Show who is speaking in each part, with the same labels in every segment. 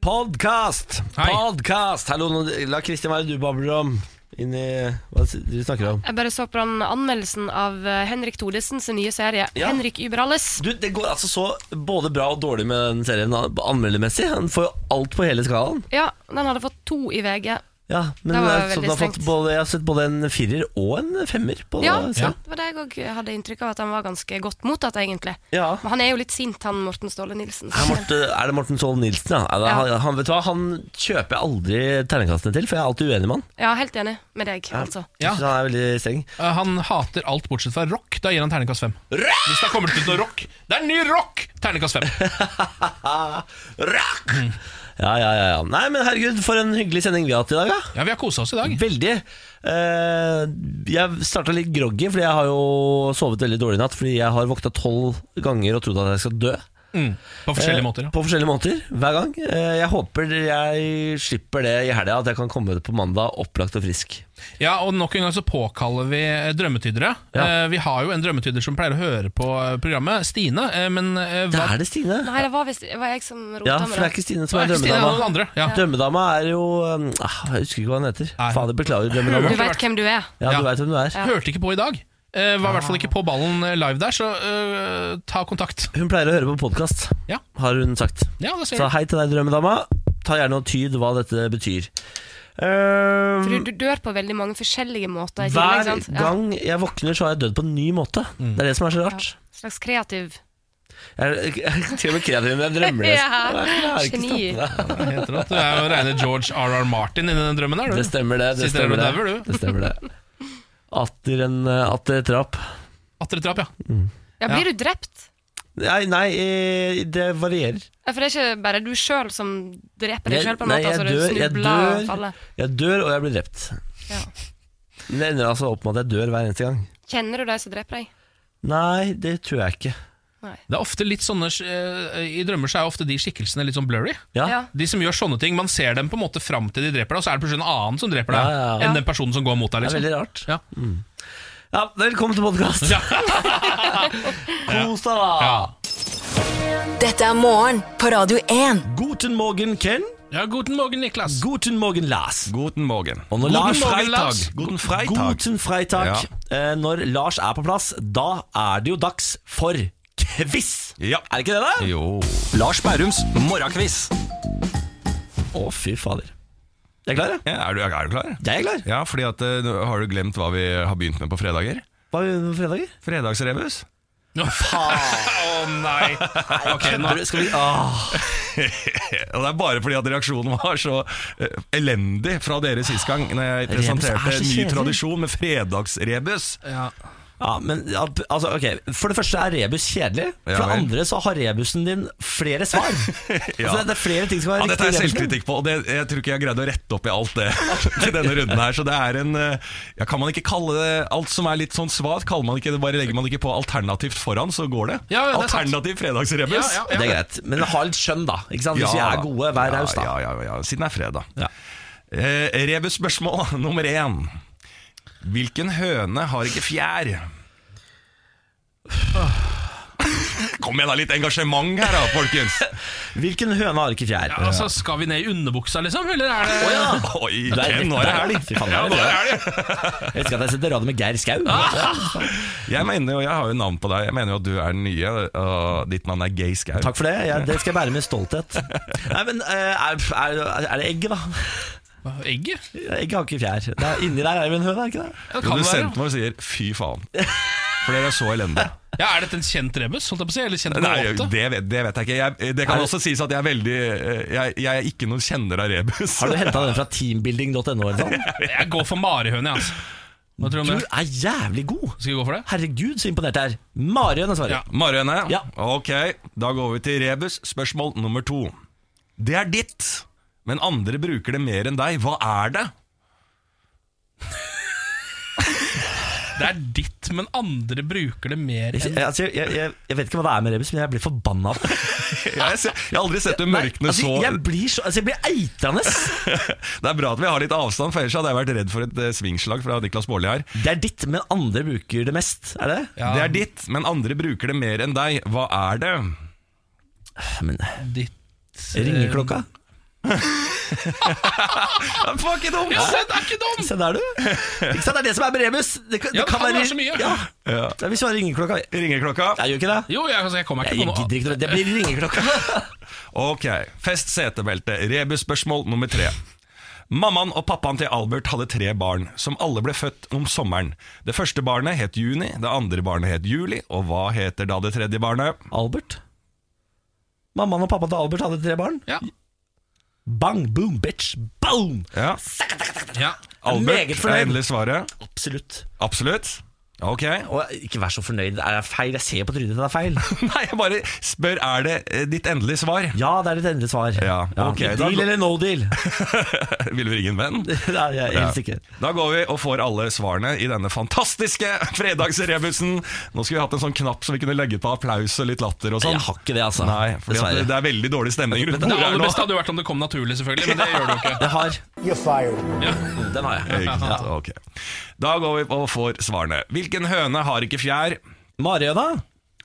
Speaker 1: Podcast!
Speaker 2: Hei.
Speaker 1: Podcast! Hallo, nå- la Kristin være du babler om. Inn i Hva er det du snakker om?
Speaker 3: Jeg bare så på den anmeldelsen av eh, Henrik Thodesens nye serie,
Speaker 1: Ja.
Speaker 3: Henrik Überalles.
Speaker 1: Du, Det går altså så både bra og dårlig med den serien an- anmeldermessig. Han får jo alt på hele skalaen.
Speaker 3: Ja, den hadde fått to i VG.
Speaker 1: Ja, men
Speaker 3: Det var
Speaker 1: jeg, så
Speaker 3: veldig
Speaker 1: den har fått
Speaker 3: strengt.
Speaker 1: både, jeg har sett både en firer og en femmer. På
Speaker 3: Ja,
Speaker 1: serien.
Speaker 3: det var det jeg òg hadde inntrykk av, at han var ganske godt mottatt, egentlig.
Speaker 1: Ja.
Speaker 3: Men han er jo litt sint, han Morten Ståle Nilsen.
Speaker 1: Er, Morten, er det Morten Sov Nilsen, ja? Er det,
Speaker 3: Ja.
Speaker 1: Han, han, vet du hva, han kjøper jeg aldri terningkastene til, for jeg er alltid uenig med han.
Speaker 3: Ja, helt enig med deg, altså.
Speaker 1: Jeg
Speaker 2: Ja.
Speaker 1: synes Han er veldig streng.
Speaker 2: Eh, Han hater alt bortsett fra rock. Da gir han terningkast fem.
Speaker 1: Rock!
Speaker 2: Hvis det har kommet ut noe rock Det er ny rock! Terningkast fem. Mm.
Speaker 1: Rock! Ja, ja, ja, ja. Nei, men herregud, for en hyggelig sending vi har hatt i dag, ja.
Speaker 2: Ja, vi har kosa oss i dag.
Speaker 1: Veldig. Eh, jeg starta litt groggy, fordi jeg har jo sovet veldig dårlig i natt. Fordi jeg har våkna tolv ganger og trodd at jeg skal dø.
Speaker 2: Mm. På
Speaker 1: Eh,
Speaker 2: forskjellige måter. Ja.
Speaker 1: På forskjellige måter, hver gang. Eh, jeg håper jeg slipper det i helga, at jeg kan komme på mandag opplagt og frisk.
Speaker 2: ja, Og nok en gang så påkaller vi eh, drømmetydere.
Speaker 1: Ja.
Speaker 2: Eh, Vi har jo en drømmetyder som pleier å høre på eh, programmet. Stine. eh, Men eh,
Speaker 1: Det
Speaker 2: hva
Speaker 1: er det, Stine.
Speaker 3: Nei, det var visst det var jeg som rota
Speaker 1: Ja, for det er
Speaker 3: med det.
Speaker 1: ikke Stine som
Speaker 2: Hva
Speaker 1: er
Speaker 2: er Stine, det er noen
Speaker 1: drømmedama.
Speaker 2: andre. Ja.
Speaker 1: Drømmedama er jo um, ah, Jeg husker ikke hva hun heter.
Speaker 2: Nei.
Speaker 1: Fader, beklager,
Speaker 3: Du
Speaker 1: drømmedama.
Speaker 2: Hørte
Speaker 3: veit
Speaker 2: hvert-
Speaker 3: hvem du er.
Speaker 1: Ja,
Speaker 2: Ja.
Speaker 1: du veit hvem du er.
Speaker 3: Ja.
Speaker 2: Hørte ikke på i dag. Eh, Var i hvert fall ikke på ballen eh, live der, så eh, ta kontakt.
Speaker 1: Hun pleier å høre på podkast,
Speaker 2: Ja.
Speaker 1: har hun sagt.
Speaker 2: Ja, det ser
Speaker 1: Så
Speaker 2: du.
Speaker 1: hei til deg, drømmedama. Ta gjerne og tyd hva dette betyr. Ehm,
Speaker 3: For du, du dør på veldig mange forskjellige måter. i tillegg,
Speaker 1: hver
Speaker 3: sant?
Speaker 1: gang jeg våkner, så har jeg dødd på en ny måte.
Speaker 2: Mm.
Speaker 1: Det er det som er så rart.
Speaker 3: Ja. Slags kreativ
Speaker 1: Jeg, jeg, jeg, til og med kreativ, men jeg drømmer det.
Speaker 3: Ja,
Speaker 1: Jeg klarer ikke å
Speaker 3: geni.
Speaker 1: stoppe det.
Speaker 2: Det heter at Du er jo reine George R.R. Martin inni den drømmen der,
Speaker 1: Det
Speaker 2: du.
Speaker 1: stemmer det. Det
Speaker 2: Sitter der
Speaker 1: stemmer
Speaker 2: og
Speaker 1: det.
Speaker 2: dauer, du.
Speaker 1: det, stemmer det. Atter en eh, atter et drap.
Speaker 2: Atter et drap, ja.
Speaker 3: Ja, blir du drept?
Speaker 1: Nei, nei, eh, det varierer.
Speaker 3: Ja, For det er ikke bare du sjøl som dreper deg
Speaker 1: Jeg-
Speaker 3: sjøl, på en
Speaker 1: nei,
Speaker 3: måte.
Speaker 1: jeg
Speaker 3: Altså, du
Speaker 1: dør- jeg
Speaker 3: snubler
Speaker 1: dør.
Speaker 3: og faller.
Speaker 1: Jeg dør, og jeg blir drept.
Speaker 3: Ja.
Speaker 1: Men Det ender altså opp med at jeg dør hver eneste gang.
Speaker 3: Kjenner du de som dreper deg?
Speaker 1: Nei, det tror jeg ikke.
Speaker 2: Det er ofte litt sånne eh, I drømmer så er ofte de skikkelsene litt sånn blurry.
Speaker 1: Ja,
Speaker 3: Ja.
Speaker 2: De som gjør sånne ting, Man ser dem på en måte fram til de dreper deg, og så er det plutselig en annen som dreper deg.
Speaker 1: Ja, ja,
Speaker 3: ja.
Speaker 2: Enn den personen som går mot deg.
Speaker 1: det er
Speaker 2: Liksom.
Speaker 1: veldig rart.
Speaker 2: Ja.
Speaker 1: Mm. ja velkommen til podkast.
Speaker 2: Ja.
Speaker 1: Kos deg, da.
Speaker 2: Ja.
Speaker 4: Dette er morgen på Radio 1.
Speaker 5: Guten Morgen, Ken.
Speaker 2: ja, Guten morgen, Niklas.
Speaker 1: Guten morgen, Lars.
Speaker 5: Guten Morgen.
Speaker 1: Og når
Speaker 2: Guten
Speaker 1: Lars
Speaker 2: morgen, Lars.
Speaker 5: Guten Freitag.
Speaker 1: Guten Freitag.
Speaker 5: Ja.
Speaker 1: Eh, når Lars er på plass, da er det jo dags for quiz.
Speaker 5: Ja.
Speaker 1: Er det ikke det, da?
Speaker 5: Jo. Lars Bærums morgenkviss.
Speaker 1: Å, fy fader. Jeg er klar, jeg.
Speaker 5: Ja, er, du, er du klar?
Speaker 1: Jeg er klar.
Speaker 5: Ja, fordi at eh, nå Har du glemt hva vi har begynt med på fredager?
Speaker 1: Hva gjør vi på fredager?
Speaker 5: Fredagsrebus?
Speaker 2: Å nei! Ok, nå,
Speaker 1: Skal vi Åh.
Speaker 5: Og det er bare fordi at reaksjonen var så eh, elendig fra dere sist gang, Når jeg
Speaker 1: Rebus er
Speaker 5: presenterte
Speaker 1: så
Speaker 5: en ny
Speaker 1: kjedelig.
Speaker 5: tradisjon med fredagsrebus.
Speaker 2: ja.
Speaker 1: Ja, men ja, p- altså, ok For det første er rebus kjedelig. For
Speaker 5: Ja
Speaker 1: det
Speaker 5: vel.
Speaker 1: andre så har rebusen din flere svar. altså, det er flere ting som er
Speaker 5: Ja, dette
Speaker 1: riktig.
Speaker 5: er
Speaker 1: i rebusen.
Speaker 5: selvkritikk på, og det, jeg tror ikke jeg greide å rette opp i alt det til denne runden her. Så det er en eh, ja, Kan man ikke kalle det alt som er litt sånn svart, kaller man ikke det, bare legger man ikke på alternativt foran, så går det?
Speaker 2: Ja, ja, det er sant.
Speaker 5: Alternativ fredagsrebus.
Speaker 2: Ja, ja, ja.
Speaker 1: Det er greit. Men ha litt skjønn, da. Ikke sant? Hvis vi er gode, vær raus, da.
Speaker 5: Ja, ja, ja, ja, siden det er fredag.
Speaker 1: Ja.
Speaker 5: Eh, Rebus-spørsmål nummer én. Hvilken høne har ikke fjær? Kom igjen, da. Litt engasjement her, da, folkens.
Speaker 1: Hvilken høne har ikke fjær?
Speaker 2: Ja, altså, skal vi ned i underbuksa, liksom? Eller er det
Speaker 5: Oi,
Speaker 1: Det er
Speaker 5: Ken, nå er det helg.
Speaker 1: Fy faen,
Speaker 2: Ja,
Speaker 1: nå
Speaker 2: nå
Speaker 1: er det
Speaker 2: er det
Speaker 1: helg. Jeg husker at jeg sendte radio med Geir Skau.
Speaker 5: Jeg mener jo, jeg har jo navn på deg. Jeg mener jo at du er den nye, og ditt navn er Gay Skau.
Speaker 1: Takk for det. Ja, det skal jeg bære med stolthet. Nei, men eh, er, er, er det egget, da?
Speaker 2: Egget? Ja,
Speaker 1: Egget har ikke fjær. Det er, inni der er det en høne, er det ikke det?
Speaker 2: det kan
Speaker 5: Jo, du
Speaker 2: det være.
Speaker 5: sendte meg og sier 'fy faen', for dere er så elendige.
Speaker 2: Ja, Er dette en kjent rebus? Holdt jeg på å si, eller kjent
Speaker 5: Nei,
Speaker 2: gåte?
Speaker 5: det vet, det vet jeg ikke. Jeg, det kan
Speaker 1: Er-
Speaker 5: også sies at jeg er veldig eh, Jeg, jeg er ikke noen kjenner av rebus.
Speaker 1: Har du henta den fra teambuilding.no? eller noe sånt?
Speaker 2: Jeg går for marihøne, jeg, altså. Hva tror du
Speaker 1: Du
Speaker 2: om det?
Speaker 1: er jævlig god.
Speaker 2: Skal vi gå for det?
Speaker 1: Herregud, så imponert jeg er. Marion er svaret.
Speaker 2: Ja.
Speaker 5: Marøne,
Speaker 1: Ja.
Speaker 5: ok, da går vi til rebus. Spørsmål nummer to. Det er ditt, men andre bruker det mer enn deg. Hva er det?
Speaker 2: Det er ditt, men andre bruker det mer
Speaker 1: Jeg,
Speaker 2: enn
Speaker 1: altså, jeg, jeg, jeg vet ikke hva det er med rebus, men jeg blir forbanna. av det.
Speaker 5: Jeg, ser, jeg har aldri sett det
Speaker 1: Nei,
Speaker 5: mørkne
Speaker 1: altså,
Speaker 5: så
Speaker 1: Jeg blir, så, altså, jeg blir eitrende.
Speaker 5: Det er bra at vi har litt avstand, for ellers hadde jeg vært redd for et eh, svingslag fra Niklas Baarli her.
Speaker 1: Det er ditt, men andre bruker det mest. Er det?
Speaker 2: Ja,
Speaker 5: Det er ditt, men andre bruker det mer enn deg. Hva er det?
Speaker 1: Men
Speaker 2: ditt eh,
Speaker 1: Ringeklokka?
Speaker 5: Fuck, ikke dumt!
Speaker 2: Ja, se, det er ikke dum!
Speaker 1: Se der, du. Ikke sant, Det er det som er bremus. Det kan,
Speaker 2: Ja,
Speaker 1: det kan være
Speaker 2: så mye.
Speaker 1: Ja. Ja, Vi svarer ringeklokka. vi.
Speaker 5: Ringeklokka.
Speaker 1: Jeg gjør ikke det.
Speaker 2: Jo, jeg, altså, jeg kommer
Speaker 1: Jeg
Speaker 2: ikke på
Speaker 1: gidder
Speaker 2: noe.
Speaker 1: ikke det. Det blir ringeklokka.
Speaker 5: Ok, fest setebelte, rebusspørsmål nummer tre. Mammaen og pappaen til Albert hadde tre barn, som alle ble født om sommeren. Det første barnet het Juni, det andre barnet het Juli, og hva heter da det tredje barnet?
Speaker 1: Albert. Mammaen og pappaen til Albert hadde tre barn.
Speaker 2: Ja,
Speaker 1: Bang, boom, bitch, boom!
Speaker 5: Ja,
Speaker 2: ja.
Speaker 5: Albert
Speaker 1: meget
Speaker 5: er
Speaker 1: fornøyd.
Speaker 5: endelig svaret.
Speaker 1: Absolutt.
Speaker 5: Absolutt. Ok.
Speaker 1: Og ikke vær så fornøyd. Er jeg feil? Jeg ser på trynet ditt at det er feil.
Speaker 5: Nei, jeg bare spør, er det eh, ditt endelige svar?
Speaker 1: Ja, det er ditt endelige svar.
Speaker 5: Ja, ok, da-
Speaker 1: deal eller no deal?
Speaker 5: Vil du ringe en venn?
Speaker 1: Nei, jeg er
Speaker 5: Ja.
Speaker 1: helt sikker.
Speaker 5: Da går vi og får alle svarene i denne fantastiske fredagsrebusen. Nå skulle vi hatt en sånn knapp som vi kunne legge på applaus og litt latter og sånn.
Speaker 1: Jeg har ikke det, altså.
Speaker 5: Nei, fordi at
Speaker 1: Dessverre.
Speaker 5: det er veldig dårlig stemning rundt
Speaker 2: Det
Speaker 5: bordet her
Speaker 2: aller
Speaker 5: nå.
Speaker 2: beste hadde jo vært om det kom naturlig, selvfølgelig, men det gjør det jo ikke.
Speaker 1: Jeg har.
Speaker 6: You're fired.
Speaker 1: Den har jeg.
Speaker 5: Ikke sant? Ok. Da går vi og får svarene. Hvilken høne har ikke fjær?
Speaker 1: Mariana?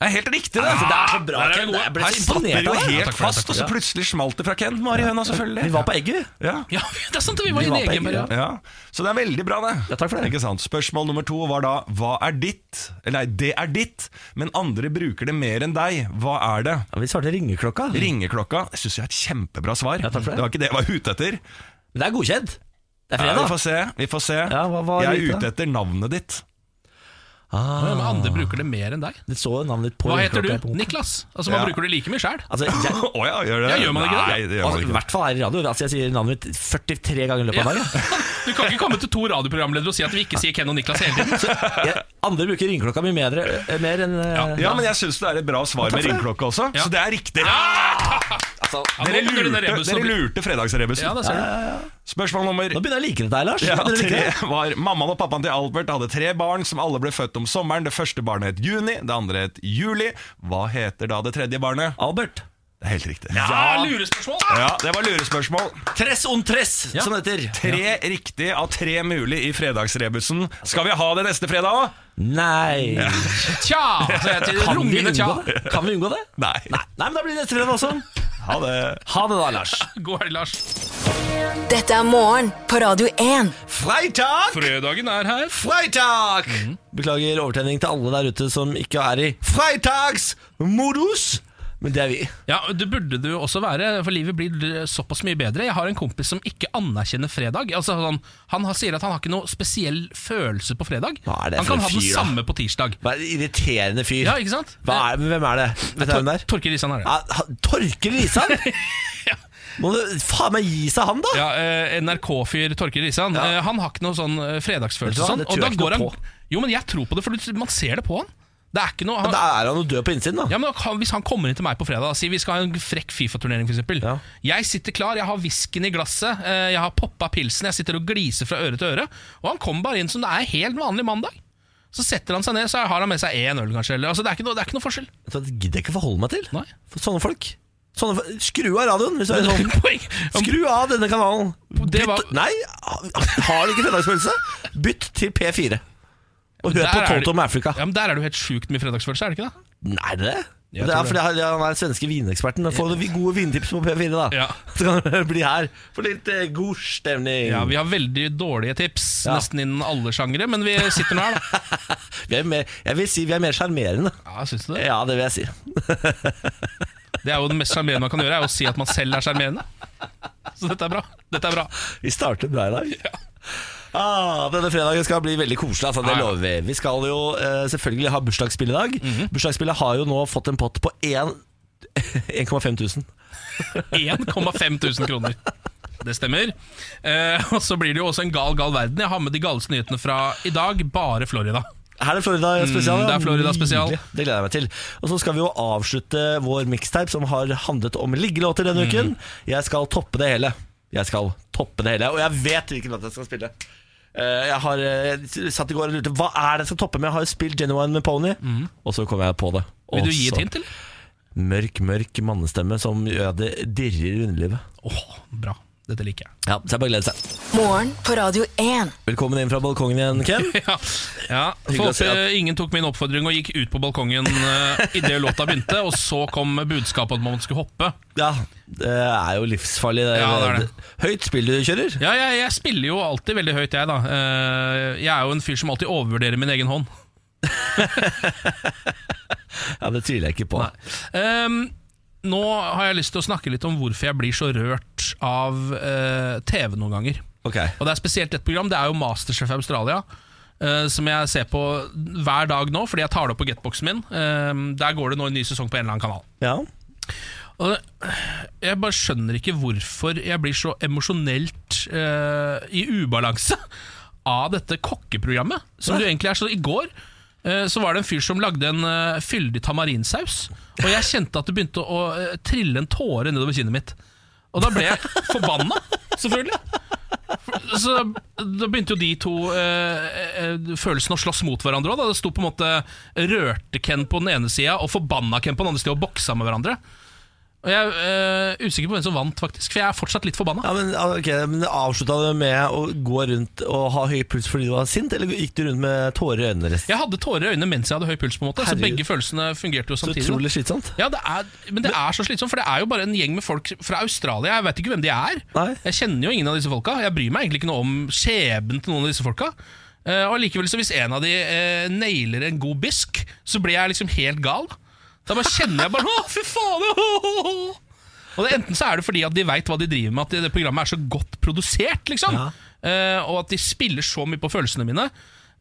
Speaker 5: Det er helt riktig, det!
Speaker 1: Altså, det er så bra,
Speaker 2: der er vi
Speaker 1: Ken.
Speaker 2: gode.
Speaker 1: Jeg ble
Speaker 5: Her
Speaker 1: så
Speaker 5: satt dere
Speaker 1: imponert
Speaker 5: jo
Speaker 1: av deg.
Speaker 5: helt fast, og så plutselig smalt det fra Ken. Marihøna, selvfølgelig.
Speaker 1: Vi var på egget, vi.
Speaker 5: ja.
Speaker 2: Ja, det er sant, vi var
Speaker 1: Vi
Speaker 2: i en
Speaker 1: var på
Speaker 2: egen
Speaker 1: egg, ja.
Speaker 2: periode.
Speaker 5: Ja, Så det er veldig bra, det.
Speaker 1: Ja, takk for det.
Speaker 5: Ikke sant? Spørsmål nummer to var da hva er ditt? Eller nei, det er ditt, men andre bruker det mer enn deg. Hva er det?
Speaker 1: Ja, vi svarte ringeklokka.
Speaker 5: Ringeklokka syns jeg synes det er et kjempebra svar.
Speaker 1: Ja, takk for det.
Speaker 5: det var ikke det jeg var ute etter.
Speaker 1: Men det er godkjent. Det er
Speaker 5: Ja, vi
Speaker 1: fredag.
Speaker 5: får se. Vi får se.
Speaker 1: Ja, hva- hva er det
Speaker 5: jeg er
Speaker 1: ute?
Speaker 5: ute etter navnet ditt.
Speaker 2: Ja, men andre bruker det mer enn deg.
Speaker 1: Det så navnet ditt på
Speaker 2: Hva heter
Speaker 1: ringeklokka
Speaker 2: du?
Speaker 1: på-
Speaker 2: Niklas. Altså, man
Speaker 5: Ja.
Speaker 2: bruker det like mye sjæl.
Speaker 1: Altså, jeg,
Speaker 5: Å ja, gjør det?
Speaker 2: Ja, gjør man ikke det?
Speaker 5: Nei, det gjør
Speaker 1: altså,
Speaker 5: man
Speaker 1: I
Speaker 5: ikke.
Speaker 1: hvert fall her i radio. Altså, jeg sier navnet mitt 43 ganger i løpet av dagen.
Speaker 2: Du kan ikke komme til to radioprogramledere og si at vi ikke sier Ken og Niklas hele tiden.
Speaker 1: Jeg, andre bruker ringeklokka mye mer, mer enn eh,
Speaker 2: Ja.
Speaker 5: Ja, men jeg syns det er et bra svar med ringeklokke også,
Speaker 2: Ja.
Speaker 5: så det er riktig.
Speaker 1: altså,
Speaker 5: Dere
Speaker 2: nå begynner
Speaker 5: lurte,
Speaker 2: den rebusen å
Speaker 5: dere
Speaker 2: bli-
Speaker 5: lurte fredagsrebusen.
Speaker 2: Ja, det ser du.
Speaker 5: Spørsmål nummer
Speaker 1: Nå begynner jeg å like det der, Lars.
Speaker 5: ja,
Speaker 1: Begynner du å like
Speaker 5: tre
Speaker 1: det?
Speaker 5: var Mammaen og pappaen til Albert hadde tre barn som alle ble født om sommeren. Det første barnet het Juni, det andre het Juli. Hva heter da det tredje barnet?
Speaker 1: Albert.
Speaker 5: Det er helt riktig.
Speaker 2: Ja, lurespørsmål!
Speaker 5: Ja, Det var lurespørsmål.
Speaker 1: Tress on tress, som det heter.
Speaker 5: Tre riktig av tre mulig i fredagsrebusen. Skal vi ha det neste fredag òg?
Speaker 1: Nei
Speaker 2: Tja! Så jeg til
Speaker 1: kan, vi
Speaker 2: rungende tja.
Speaker 1: unngå det? kan vi unngå det?
Speaker 5: Nei.
Speaker 1: Nei, Nei, men da blir det neste fredag også.
Speaker 5: Ha det.
Speaker 1: Ha det da, Lars.
Speaker 2: God helg, Lars.
Speaker 4: Dette er morgen på Radio 1.
Speaker 1: Freitag!
Speaker 2: Fredagen er her.
Speaker 1: Freitag! Mhm. Beklager overtenning til alle der ute som ikke er i freitagsmodus. Men det er vi.
Speaker 2: Ja, Det burde du også være, for livet blir såpass mye bedre. Jeg har en kompis som ikke anerkjenner fredag. Altså, han, han har- sier at han har ikke noe spesiell følelse på fredag.
Speaker 1: Hva er det
Speaker 2: han
Speaker 1: for
Speaker 2: kan
Speaker 1: en
Speaker 2: ha den
Speaker 1: fyr, da?
Speaker 2: samme på tirsdag.
Speaker 1: Hva er det irriterende fyr.
Speaker 2: Ja, ikke sant? Eh,
Speaker 1: Hva er, Ah. hvem er det? Vet du hvem det er?
Speaker 2: Torkil Risan er det.
Speaker 1: Ja, han- Torkel Risan? Må du faen meg gi seg han, da?
Speaker 2: Ja, eh, NRK-fyr Torkil Risan. Eh, han har ikke noe sånn eh,
Speaker 1: Vet
Speaker 2: fredagsfølelse.
Speaker 1: du hva, det
Speaker 2: og sånn,
Speaker 1: tror
Speaker 2: og da
Speaker 1: jeg ikke
Speaker 2: går han,
Speaker 1: noe på.
Speaker 2: jo, men jeg tror på det, for du- man ser det på han. Det er ikke noe han,
Speaker 1: Da er han jo død på innsiden, da.
Speaker 2: Ja, men han- Hvis han kommer inn til meg på fredag og sier vi skal ha en frekk Fifa-turnering, f.eks. eksempel
Speaker 1: Ja.
Speaker 2: Jeg sitter klar, jeg har whiskyen i glasset, eh, jeg har poppa pilsen, jeg sitter og gliser fra øre til øre. Og han kommer bare inn som det er helt vanlig mandag. Så setter han seg ned, så har han med seg én øl, kanskje. Eller, altså, det, er ikke noe, det er ikke noe forskjell.
Speaker 1: Vet du hva, Det gidder jeg ikke forholde meg til.
Speaker 2: Nei.
Speaker 1: For sånne folk. Sånne, fo- skru av radioen hvis du er sånn.
Speaker 2: Poeng.
Speaker 1: Skru av denne kanalen.
Speaker 2: Det var-
Speaker 1: Bytt, nei, har du ikke fredagspølse? Bytt til P4. Og hør
Speaker 2: Der
Speaker 1: på
Speaker 2: er det-
Speaker 1: Toto med Africa.
Speaker 2: Ja, men Der er det jo helt sjukt mye fredagsfølelse, er det ikke det?
Speaker 1: Nei, det er det. det
Speaker 2: Jeg tror
Speaker 1: er
Speaker 2: det.
Speaker 1: fordi han han er den svenske vineksperten. Men Få gode vintips på P4, da.
Speaker 2: Ja.
Speaker 1: Så kan du bli her for litt eh, god stemning.
Speaker 2: Ja,
Speaker 1: vi,
Speaker 2: Vi har veldig dårlige tips,
Speaker 1: Ja.
Speaker 2: nesten innen alle sjangere, men vi sitter nå her, da.
Speaker 1: er mer, jeg vil si vi er mer sjarmerende.
Speaker 2: Ja, synes du Det
Speaker 1: Ja, det vil jeg si.
Speaker 2: Det er jo det mest sjarmerende man kan gjøre, er å si at man selv er sjarmerende. Så dette er bra. Dette er bra.
Speaker 1: Vi starter bra i dag. Ah, denne fredagen skal bli veldig koselig. Altså, det
Speaker 2: Ja, ja.
Speaker 1: lover vi. Vi skal jo eh, selvfølgelig ha bursdagsspill i dag.
Speaker 2: Mhm.
Speaker 1: Bursdagsspillet har jo nå fått en pott på én- 1,5 tusen.
Speaker 2: 1,5 tusen kroner. Det stemmer. Eh, og så blir det jo også en gal, gal verden. Jeg har med de galeste nyhetene fra i dag, bare Florida.
Speaker 1: Her er det Florida spesial.
Speaker 2: Mm,
Speaker 1: ja.
Speaker 2: det er Florida spesial.
Speaker 1: Nydelig. Det gleder jeg meg til. Og så skal vi jo avslutte vår mixtape som har handlet om liggelåter
Speaker 2: Mm.
Speaker 1: denne uken. Jeg skal toppe det hele. Jeg skal toppe det hele. Og jeg vet hvilken låt jeg skal spille. Eh, Jeg har eh, jeg satt i går og lurte hva er det jeg skal toppe med. Jeg har jo spilt Genuine med Pony, og så kom jeg på det.
Speaker 2: Mm. Vil
Speaker 1: Og
Speaker 2: du gi
Speaker 1: så-
Speaker 2: et hint, eller?
Speaker 1: mørk, mørk mannestemme som gjør at det dirrer i underlivet.
Speaker 2: Åh, bra. Dette liker jeg.
Speaker 1: Ja, så jeg bare gleder seg.
Speaker 4: Morgen på Radio 1.
Speaker 1: Velkommen inn fra balkongen igjen, Ken.
Speaker 2: Ja, ja.
Speaker 1: Hyggelig å
Speaker 2: For
Speaker 1: se at-
Speaker 2: eh, ingen tok min oppfordring og gikk ut på balkongen uh, idet låta begynte, og så kom budskapet at man skulle hoppe.
Speaker 1: Ja, det er jo livsfarlig. Det.
Speaker 2: Ja, det er det.
Speaker 1: Høyt spill du kjører?
Speaker 2: Ja, jeg, jeg spiller jo alltid veldig høyt, jeg, da. Eh, jeg er jo en fyr som alltid overvurderer min egen hånd.
Speaker 1: Ja, det tviler jeg ikke på.
Speaker 2: Ehm, nå har jeg lyst til å snakke litt om hvorfor jeg blir så rørt av eh, TV noen ganger.
Speaker 1: Ok,
Speaker 2: Og det er spesielt et program, det er jo Masterchef Australia. eh, som jeg ser på hver dag nå, fordi jeg tar det opp på getboxen min. Ehm, der går det nå en ny sesong på en eller annen kanal.
Speaker 1: ja
Speaker 2: Og det- jeg bare skjønner ikke hvorfor jeg blir så emosjonelt eh, i ubalanse av dette kokkeprogrammet. Som du egentlig er så I går eh, så var det en fyr som lagde en eh, fyldig tamarinsaus. Og jeg kjente at det begynte å eh, trille en tåre nedover kinnet mitt. Og da ble jeg forbanna, selvfølgelig. Så da begynte jo de to eh, eh, følelsene å slåss mot hverandre òg. Det sto på en måte rørte Ken på den ene sida og forbanna Ken på den andre sida og boksa med hverandre. Og jeg er øh, usikker på hvem som vant, faktisk. For jeg er fortsatt litt forbanna.
Speaker 1: ja, men, ok, men Avslutta du med å gå rundt og ha høy puls fordi du var sint, eller gikk du rundt med tårer i øynene? resten?
Speaker 2: Jeg hadde tårer i øynene mens jeg hadde høy puls, på en måte så
Speaker 1: Herregud.
Speaker 2: begge følelsene fungerte jo
Speaker 1: Så
Speaker 2: samtidig.
Speaker 1: utrolig slitsomt.
Speaker 2: Ja, det er, Men det er så slitsomt, for det er jo bare en gjeng med folk fra Australia. Jeg vet ikke hvem de er.
Speaker 1: Nei.
Speaker 2: Jeg kjenner jo ingen av disse folka. Jeg bryr meg egentlig ikke noe om skjebnen til noen av disse folka. Eh, og likevel så Hvis en av de eh, nailer en god bisk, så blir jeg liksom helt gal. Da bare kjenner jeg bare Å, fy faen! Å, å, å, å. Og det, Enten så er det fordi at de veit hva de driver med, at det, det programmet er så godt produsert, liksom.
Speaker 1: Ja.
Speaker 2: Eh, og at de spiller så mye på følelsene mine.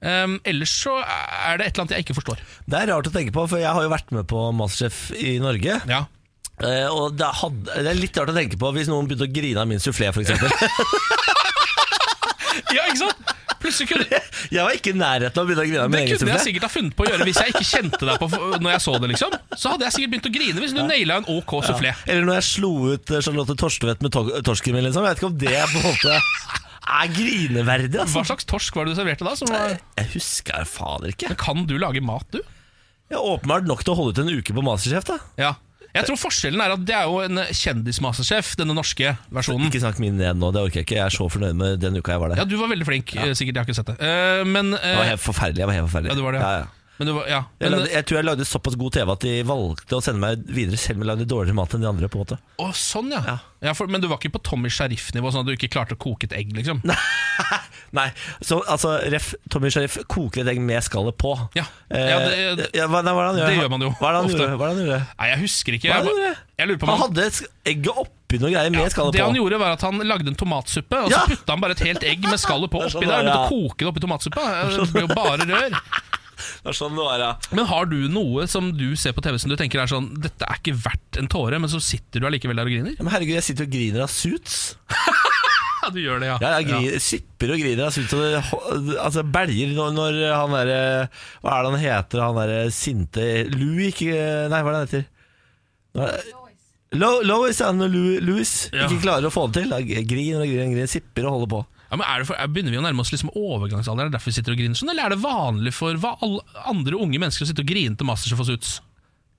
Speaker 2: Eh, ellers så er det et eller annet jeg ikke forstår.
Speaker 1: Det er rart å tenke på, for jeg har jo vært med på Masterchef i Norge.
Speaker 2: Ja.
Speaker 1: eh, Og det, hadde, det er litt rart å tenke på hvis noen begynte å grine av min sufflé, f.eks.
Speaker 2: ja, ikke sant? Plutselig kunne
Speaker 1: Jeg var ikke i nærheten av å begynne å grine av min
Speaker 2: Det
Speaker 1: egen
Speaker 2: kunne jeg
Speaker 1: sufflé.
Speaker 2: sikkert ha funnet på å gjøre hvis jeg ikke kjente deg på når jeg så det. liksom Så hadde jeg sikkert begynt å grine hvis du naila en OK soufflé.
Speaker 1: Eller når jeg slo ut eh, Charlotte Torstvedt med to- torsken min, liksom. Jeg vet ikke om det er på en måte er grineverdig, altså.
Speaker 2: Hva slags torsk var det du serverte da? Som var
Speaker 1: Jeg husker fader ikke.
Speaker 2: Men kan du lage mat, du?
Speaker 1: Jeg er åpenbart nok til å holde ut en uke på Masterchef. da
Speaker 2: Ja jeg tror forskjellen er at Det er jo en kjendismastersjef, denne norske versjonen.
Speaker 1: Ikke snakk min ned nå, det orker jeg ikke. Jeg er så fornøyd med den uka jeg var der.
Speaker 2: Ja, Du var veldig flink, eh, sikkert. Jeg har ikke sett det. Eh, Men, eh,
Speaker 1: Jeg var helt forferdelig. Jeg var helt forferdelig
Speaker 2: Ja, du var det, ja.
Speaker 1: ja, ja.
Speaker 2: men, du var, ja.
Speaker 1: Jeg,
Speaker 2: men eh,
Speaker 1: lagde, jeg tror jeg lagde såpass god TV at de valgte å sende meg videre selv om jeg lagde dårligere mat enn de andre. på en måte
Speaker 2: Å, sånn, ja. ja for, men du var ikke på Tommy Sheriff-nivå, sånn at du ikke klarte å koke et egg, liksom?
Speaker 1: Nei, så altså Ref, Tommy Sheriff koker et egg med skallet på.
Speaker 2: Ja.
Speaker 1: Eh,
Speaker 2: Ja, det-
Speaker 1: ja, hva, nei, hva er det han gjør?
Speaker 2: det gjør man jo
Speaker 1: Hva er det han
Speaker 2: ofte.
Speaker 1: gjorde? Hva er det han gjorde?
Speaker 2: Nei, jeg husker ikke.
Speaker 1: Hva
Speaker 2: Jeg,
Speaker 1: er det han
Speaker 2: ba-
Speaker 1: gjorde?
Speaker 2: jeg lurer på om
Speaker 1: Han hadde sk- egget oppi noe greier med skallet
Speaker 2: Det
Speaker 1: på.
Speaker 2: han gjorde var at han lagde en tomatsuppe, og
Speaker 1: Ja!
Speaker 2: så putta han bare et helt egg med skallet på
Speaker 1: Det er sånn
Speaker 2: oppi der.
Speaker 1: det er,
Speaker 2: Og koke det oppi tomatsuppa. Det
Speaker 1: sånn
Speaker 2: ble jo bare rør.
Speaker 1: Det er sånn det var, ja.
Speaker 2: Men har du noe som du ser på TV som du tenker er sånn Dette er ikke verdt en tåre, men så sitter du allikevel der og griner?
Speaker 1: Ja, Men herregud, jeg sitter og griner av suits.
Speaker 2: Ja, du gjør det, ja.
Speaker 1: Ja, jeg griner, sipper og griner. Jeg synes det ho- altså, belger når, når han der Hva er det han heter, han der sinte Louis, ikke Nei, hva er det han heter? Nå- Lo- Lois, ja. Når Lou- Louis
Speaker 2: Ja.
Speaker 1: ikke klarer å få det til. Da griner og griner, griner sipper og holder på.
Speaker 2: Ja. men er det for, Begynner vi å nærme oss liksom overgangsalderen? Er det derfor vi sitter og griner sånn? Eller er det vanlig for hva alle andre unge mennesker å sitte og grine til Masterchef og Suits?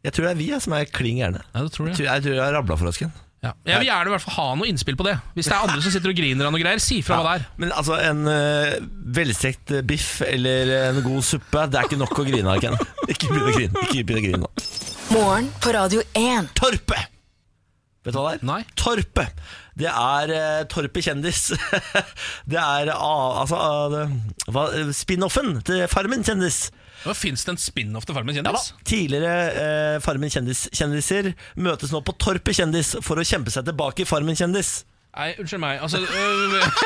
Speaker 1: Jeg tror det er vi ja, som er kling gærne.
Speaker 2: Ja, det tror
Speaker 1: Jeg
Speaker 2: jeg.
Speaker 1: tror jeg tror jeg har rabla for oss, Ken.
Speaker 2: Ja. Jeg vil gjerne i hvert fall ha noe innspill på det. Hvis det er andre som sitter og griner av noe greier, si fra hva det er.
Speaker 1: Men altså, en eh, velstekt eh, biff eller en god suppe, det er ikke nok å grine av, Ken. Ikke begynn å grine, ikke begynn å grine nå.
Speaker 4: Morgen på Radio 1.
Speaker 1: Torpe! Vet du hva det er?
Speaker 2: Nei.
Speaker 1: Torpe. Det er eh, Torpe kjendis. det er ah, altså ah, det- hva, spin-offen til Farmen kjendis.
Speaker 2: Fins det en spin-off til Farmen
Speaker 1: Ja da.
Speaker 2: kjendis?
Speaker 1: Tidligere eh, Farmen kjendis-kjendiser møtes nå på Torpe kjendis for å kjempe seg tilbake i Farmen kjendis.
Speaker 2: Nei, unnskyld meg. Altså øh,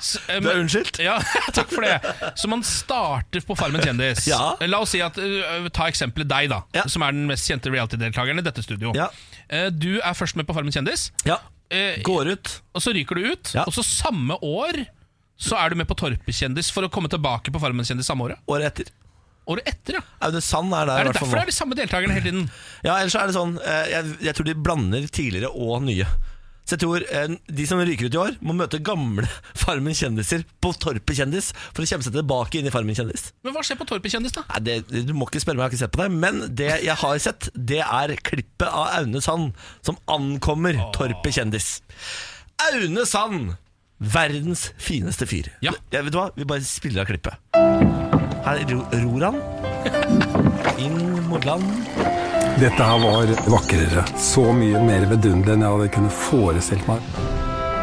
Speaker 2: s- øh,
Speaker 1: Du er
Speaker 2: men-
Speaker 1: unnskyldt?
Speaker 2: Ja, takk for det. Så man starter på Farmen kjendis. Eh,
Speaker 1: Ja.
Speaker 2: La oss si at, øh, Ta eksempelet deg, da.
Speaker 1: Ja.
Speaker 2: Som er den mest kjente reality-deltakeren i dette studio.
Speaker 1: Ja.
Speaker 2: Eh, Du er først med på Farmen kjendis,
Speaker 1: Ja.
Speaker 2: eh,
Speaker 1: Går ut.
Speaker 2: og så ryker du ut.
Speaker 1: Ja.
Speaker 2: Og så samme år så er du med på Torpekjendis for å komme tilbake på Farmen kjendis samme året.
Speaker 1: Året etter.
Speaker 2: Året etter, ja.
Speaker 1: Aune Sand er der. i
Speaker 2: Er det
Speaker 1: hvert fall
Speaker 2: derfor det
Speaker 1: nå.
Speaker 2: er de samme deltakerne hele tiden?
Speaker 1: Ja, ellers så er det sånn eh, jeg, jeg tror de blander tidligere og nye. Så jeg tror eh, De som ryker ut i år, må møte gamle Farmen kjendiser på Torpet kjendis for å kjempe seg tilbake inn i Farmen kjendis.
Speaker 2: Men hva skjer på Torpekjendis, da?
Speaker 1: Nei, det, du må ikke spørre meg, jeg har ikke sett på det. Men det jeg har sett, det er klippet av Aune Sand som ankommer Torpet kjendis. Aune Sand Verdens fineste fyr.
Speaker 2: Ja.
Speaker 1: Jeg vet du hva? Vi bare spiller av klippet. Her ro- ror han. Inn mot land.
Speaker 6: Dette her var vakrere. Så mye mer vidunderlig enn jeg hadde kunnet forestilt meg.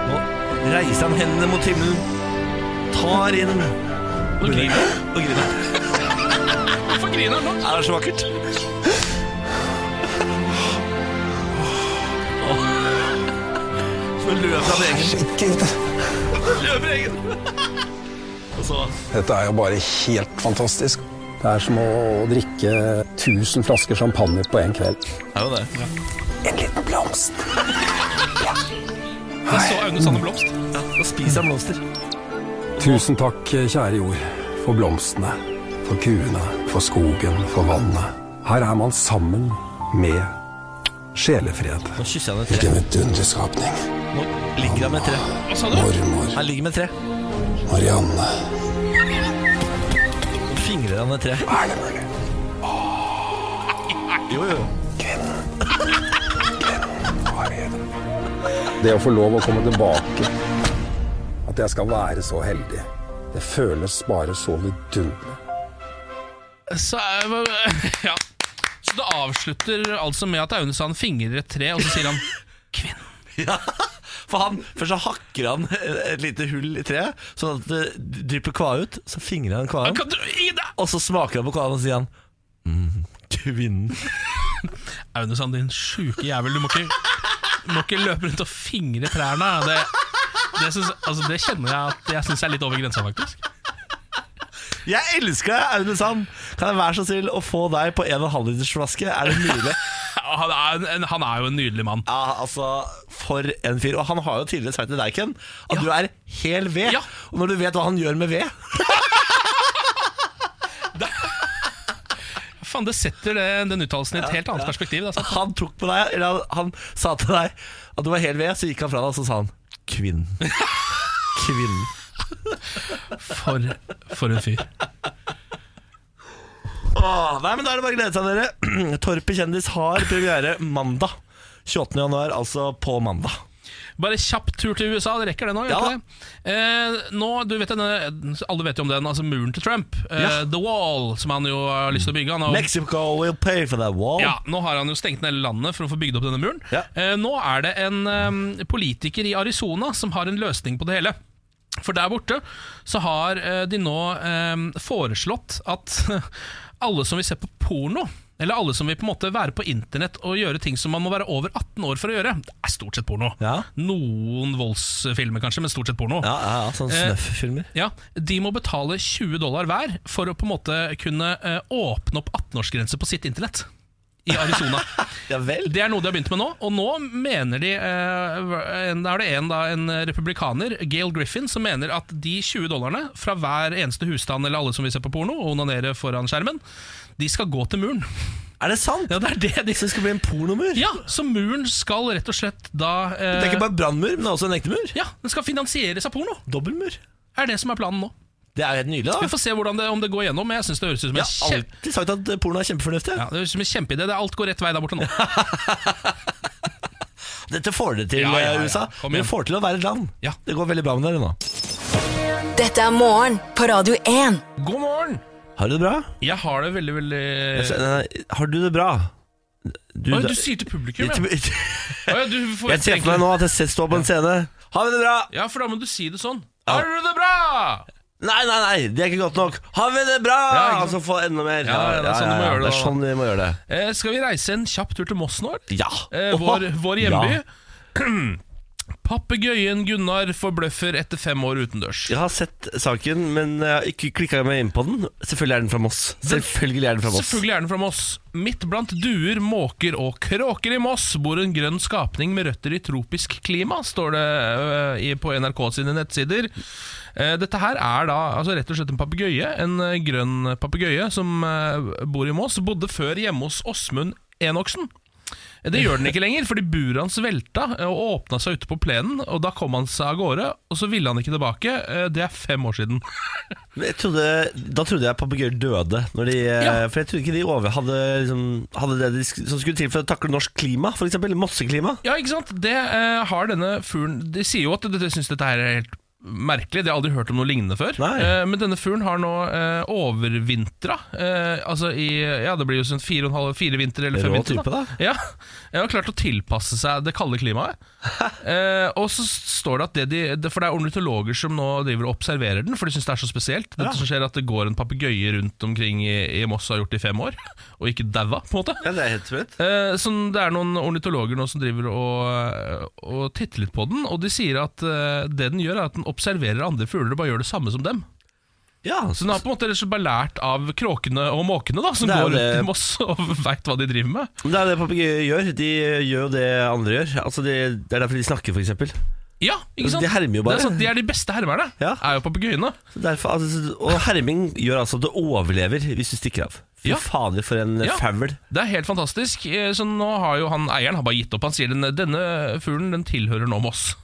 Speaker 1: Nå reiser han hendene mot himmelen. Tar inn
Speaker 2: Nå griner han.
Speaker 1: og griner.
Speaker 2: Hvorfor griner han nå?
Speaker 1: Det er så vakkert. Så løper han egen. Løper egen. Og så
Speaker 6: Dette er jo bare helt fantastisk. Det er som å drikke 1000 flasker champagne på en kveld.
Speaker 1: er jo det.
Speaker 6: En liten blomst.
Speaker 2: Jeg så Aune Sand og Blomst.
Speaker 1: Da spiser han blomster.
Speaker 6: Tusen takk, kjære jord, for blomstene, for kuene, for skogen, for vannet. Her er man sammen med sjelefred.
Speaker 1: Nå kysser han et tre.
Speaker 6: Hvilken vidunderlig skapning.
Speaker 1: Nå ligger han med et tre.
Speaker 2: Hva sa du?
Speaker 6: Mormor,
Speaker 1: Han ligger med et tre.
Speaker 6: Marianne.
Speaker 1: Nå fingrer han et tre.
Speaker 6: Er det mulig?
Speaker 1: Jo, jo.
Speaker 6: Det å få lov å komme tilbake, at jeg skal være så heldig, det føles bare så vidunderlig.
Speaker 2: Så, eh, ja. så det avslutter altså med at Aune Sand fingrer et tre, og så sier han Kvinne.
Speaker 1: Ja. For han, Først så hakker han et lite hull i treet, sånn at det drypper kva ut. Så fingrer han kvaen,
Speaker 2: Kan du gi deg?
Speaker 1: og så smaker han på kvaen og sier han mm, Kvinnen.
Speaker 2: Aune Sand, din sjuke jævel. Du må ikke, du må ikke løpe rundt og fingre trærne. Det, det, syns- altså, det kjenner jeg at jeg syns er litt over grensa, faktisk.
Speaker 1: Jeg elsker deg, Aune Sand! Kan jeg være så snill å få deg på en og en halv liters flaske? Er det mulig?
Speaker 2: Han er, en- en, han er jo en nydelig mann.
Speaker 1: Ja, altså, For en fyr. Og han har jo tidligere sagt til deg, Ken, at du er hel ved.
Speaker 2: Ja.
Speaker 1: Og når du vet hva han gjør med ved
Speaker 2: Faen, det setter det, den uttalelsen i et helt annet perspektiv. altså. Da, sant?
Speaker 1: Han tok på deg, eller han, han sa til deg at du var hel ved, så gikk han fra deg og så sa han 'kvinnen'. Kvinnen.
Speaker 2: For, for en fyr.
Speaker 1: Åh, nei, men Da er det bare å glede seg, dere. Torpet kjendis har premiere mandag. 28. januar, altså på mandag.
Speaker 2: Bare kjapp tur til USA, det rekker det nå?
Speaker 1: Ja
Speaker 2: gjør ikke det? Eh, nå, du vet denne, Alle vet jo om den, altså muren til Trump. Eh,
Speaker 1: Ja.
Speaker 2: The Wall, som han jo har lyst til å bygge. Han har,
Speaker 1: Mexico will pay for that wall.
Speaker 2: ja, nå har han jo stengt ned landet for å få bygd opp denne muren.
Speaker 1: Ja.
Speaker 2: Eh, nå er det en eh, politiker i Arizona som har en løsning på det hele. For der borte så har eh, de nå eh, foreslått at alle som vil se på porno eller alle som vil på en måte være på internett og gjøre ting som man må være over 18 år for å gjøre. Det er stort sett porno.
Speaker 1: Ja.
Speaker 2: Noen voldsfilmer kanskje, men stort sett porno.
Speaker 1: Ja, ja, ja sånn
Speaker 2: Eh,
Speaker 1: snøff-filmer.
Speaker 2: Ja, De må betale 20 dollar hver for å på en måte kunne eh, åpne opp 18-årsgrense på sitt internett i Arizona.
Speaker 1: Ja vel?
Speaker 2: Det er noe de har begynt med nå, og nå mener de eh, en- Da er det en, da, en republikaner, Gail Griffin, som mener at de 20 dollarene fra hver eneste husstand eller alle som vil se på porno og onanere foran skjermen, de skal gå til muren.
Speaker 1: Er det sant?
Speaker 2: Ja, det er det de
Speaker 1: Så det skal bli en pornomur?
Speaker 2: Ja, Så muren skal rett og slett da eh,
Speaker 1: Det er ikke bare brannmur, men også en ekte mur?
Speaker 2: Ja, Den skal finansieres av porno,
Speaker 1: Dobbeltmur.
Speaker 2: er det som er planen nå.
Speaker 1: Det er jo helt nydelig,
Speaker 2: Vi
Speaker 1: da.
Speaker 2: får se hvordan det, om det går gjennom. men Jeg synes det høres ut som en
Speaker 1: Jeg har
Speaker 2: kjempe...
Speaker 1: alltid sagt at porno er kjempefornuftig.
Speaker 2: Ja, det er som en kjempeidé. Det er alt går rett vei der borte nå.
Speaker 1: Dette får dere til, eh,
Speaker 2: Ja, ja, ja.
Speaker 1: USA.
Speaker 2: Kom
Speaker 1: Dere
Speaker 2: igjen.
Speaker 1: får til å være et land.
Speaker 2: Ja.
Speaker 1: Det går veldig bra med dere nå.
Speaker 4: Dette er morgen på Radio 1.
Speaker 2: God morgen!
Speaker 1: Har du det bra?
Speaker 2: Jeg har det veldig, veldig
Speaker 1: Så, nei, Har du det bra? Du,
Speaker 2: Eh. Oi, du sier til publikum, ja.
Speaker 1: Jeg
Speaker 2: Oi, du får
Speaker 1: ser for meg nå at jeg sitter- står på en scene. Har vi det bra?
Speaker 2: Ja, for da må du si det sånn. Har du det bra?!
Speaker 1: Nei, nei, nei, det er ikke godt nok. Har vi det bra?
Speaker 2: Ja, ikke sant.
Speaker 1: altså, få enda mer.
Speaker 2: Ja, ja, det er sånn du må gjøre
Speaker 1: det er
Speaker 2: det, da.
Speaker 1: sånn vi må gjøre det.
Speaker 2: Eh, skal vi reise en kjapp tur til Moss nå? eller?
Speaker 1: Ja.
Speaker 2: Eh,
Speaker 1: Åh,
Speaker 2: vår, vår hjemby.
Speaker 1: Ja.
Speaker 2: Papegøyen Gunnar forbløffer etter fem år utendørs.
Speaker 1: Jeg har sett saken, men jeg har ikke klikka meg inn på den. Selvfølgelig er den fra Moss. Selvfølgelig er den fra Moss.
Speaker 2: Selvfølgelig er den fra Moss. Midt blant duer, måker og kråker i Moss bor en grønn skapning med røtter i tropisk klima, står det øh, i- på NRK sine nettsider. Eh, Dette her er da altså rett og slett en papegøye, en eh, grønn papegøye som eh, bor i Moss. Bodde før hjemme hos Åsmund Enoksen. Eh, Det gjør den ikke lenger, fordi buret hans velta eh, og åpna seg ute på plenen. Og Da kom han seg av gårde, og så ville han ikke tilbake. Eh, Det er fem år siden.
Speaker 1: Men Jeg trodde, da trodde jeg papegøyer døde, når de, eh,
Speaker 2: Ja.
Speaker 1: for jeg trodde ikke de over hadde, liksom, hadde det de sk som skulle til for å takle norsk klima, f.eks. mosseklima.
Speaker 2: Ja, ikke sant? Det eh, har denne fuglen De sier jo at de, de syns dette her er helt merkelig. Det har jeg aldri hørt om noe lignende før.
Speaker 1: Nei.
Speaker 2: Eh, men denne fuglen har nå eh, overvintra. Eh, altså i Ja, det blir jo sånn fire, og en halv, fire vinter eller fem
Speaker 1: Rå
Speaker 2: vinter.
Speaker 1: type, da.
Speaker 2: Ja, jeg har klart å tilpasse seg det kalde klimaet. Eh, og så står det at det de det- For det er ornitologer som nå driver og observerer den, for de syns det er så spesielt. Dette som skjer at det går en papegøye rundt omkring i, i Moss og har gjort det i fem år, og ikke daua, på en måte.
Speaker 1: Ja, det er helt sprøtt.
Speaker 2: Eh, sånn, det er noen ornitologer nå som driver og, eh, og titter litt på den, og de sier at eh, det den gjør, er at den observerer andre fugler og bare gjør det samme som dem.
Speaker 1: Ja,
Speaker 2: Så den har på en måte rett og slett bare lært av kråkene og måkene, da, som
Speaker 1: Det er jo
Speaker 2: går rundt
Speaker 1: det-
Speaker 2: i Moss og veit hva de driver med.
Speaker 1: Men Det er det papegøyer gjør. De gjør jo det andre gjør. Altså de, det er derfor de snakker, f.eks.
Speaker 2: Ja, ikke sant?
Speaker 1: Altså, De hermer jo bare.
Speaker 2: Det er sant, de er de beste hermerne,
Speaker 1: Ja.
Speaker 2: er jo papegøyene.
Speaker 1: Derfor, altså, og herming gjør altså at du overlever hvis du stikker av. Fy
Speaker 2: Ja.
Speaker 1: fader, for en
Speaker 2: Ja.
Speaker 1: faul.
Speaker 2: Det er helt fantastisk. Eh, Så nå har jo han eieren har bare gitt opp. Han sier den, denne fuglen den tilhører nå Moss.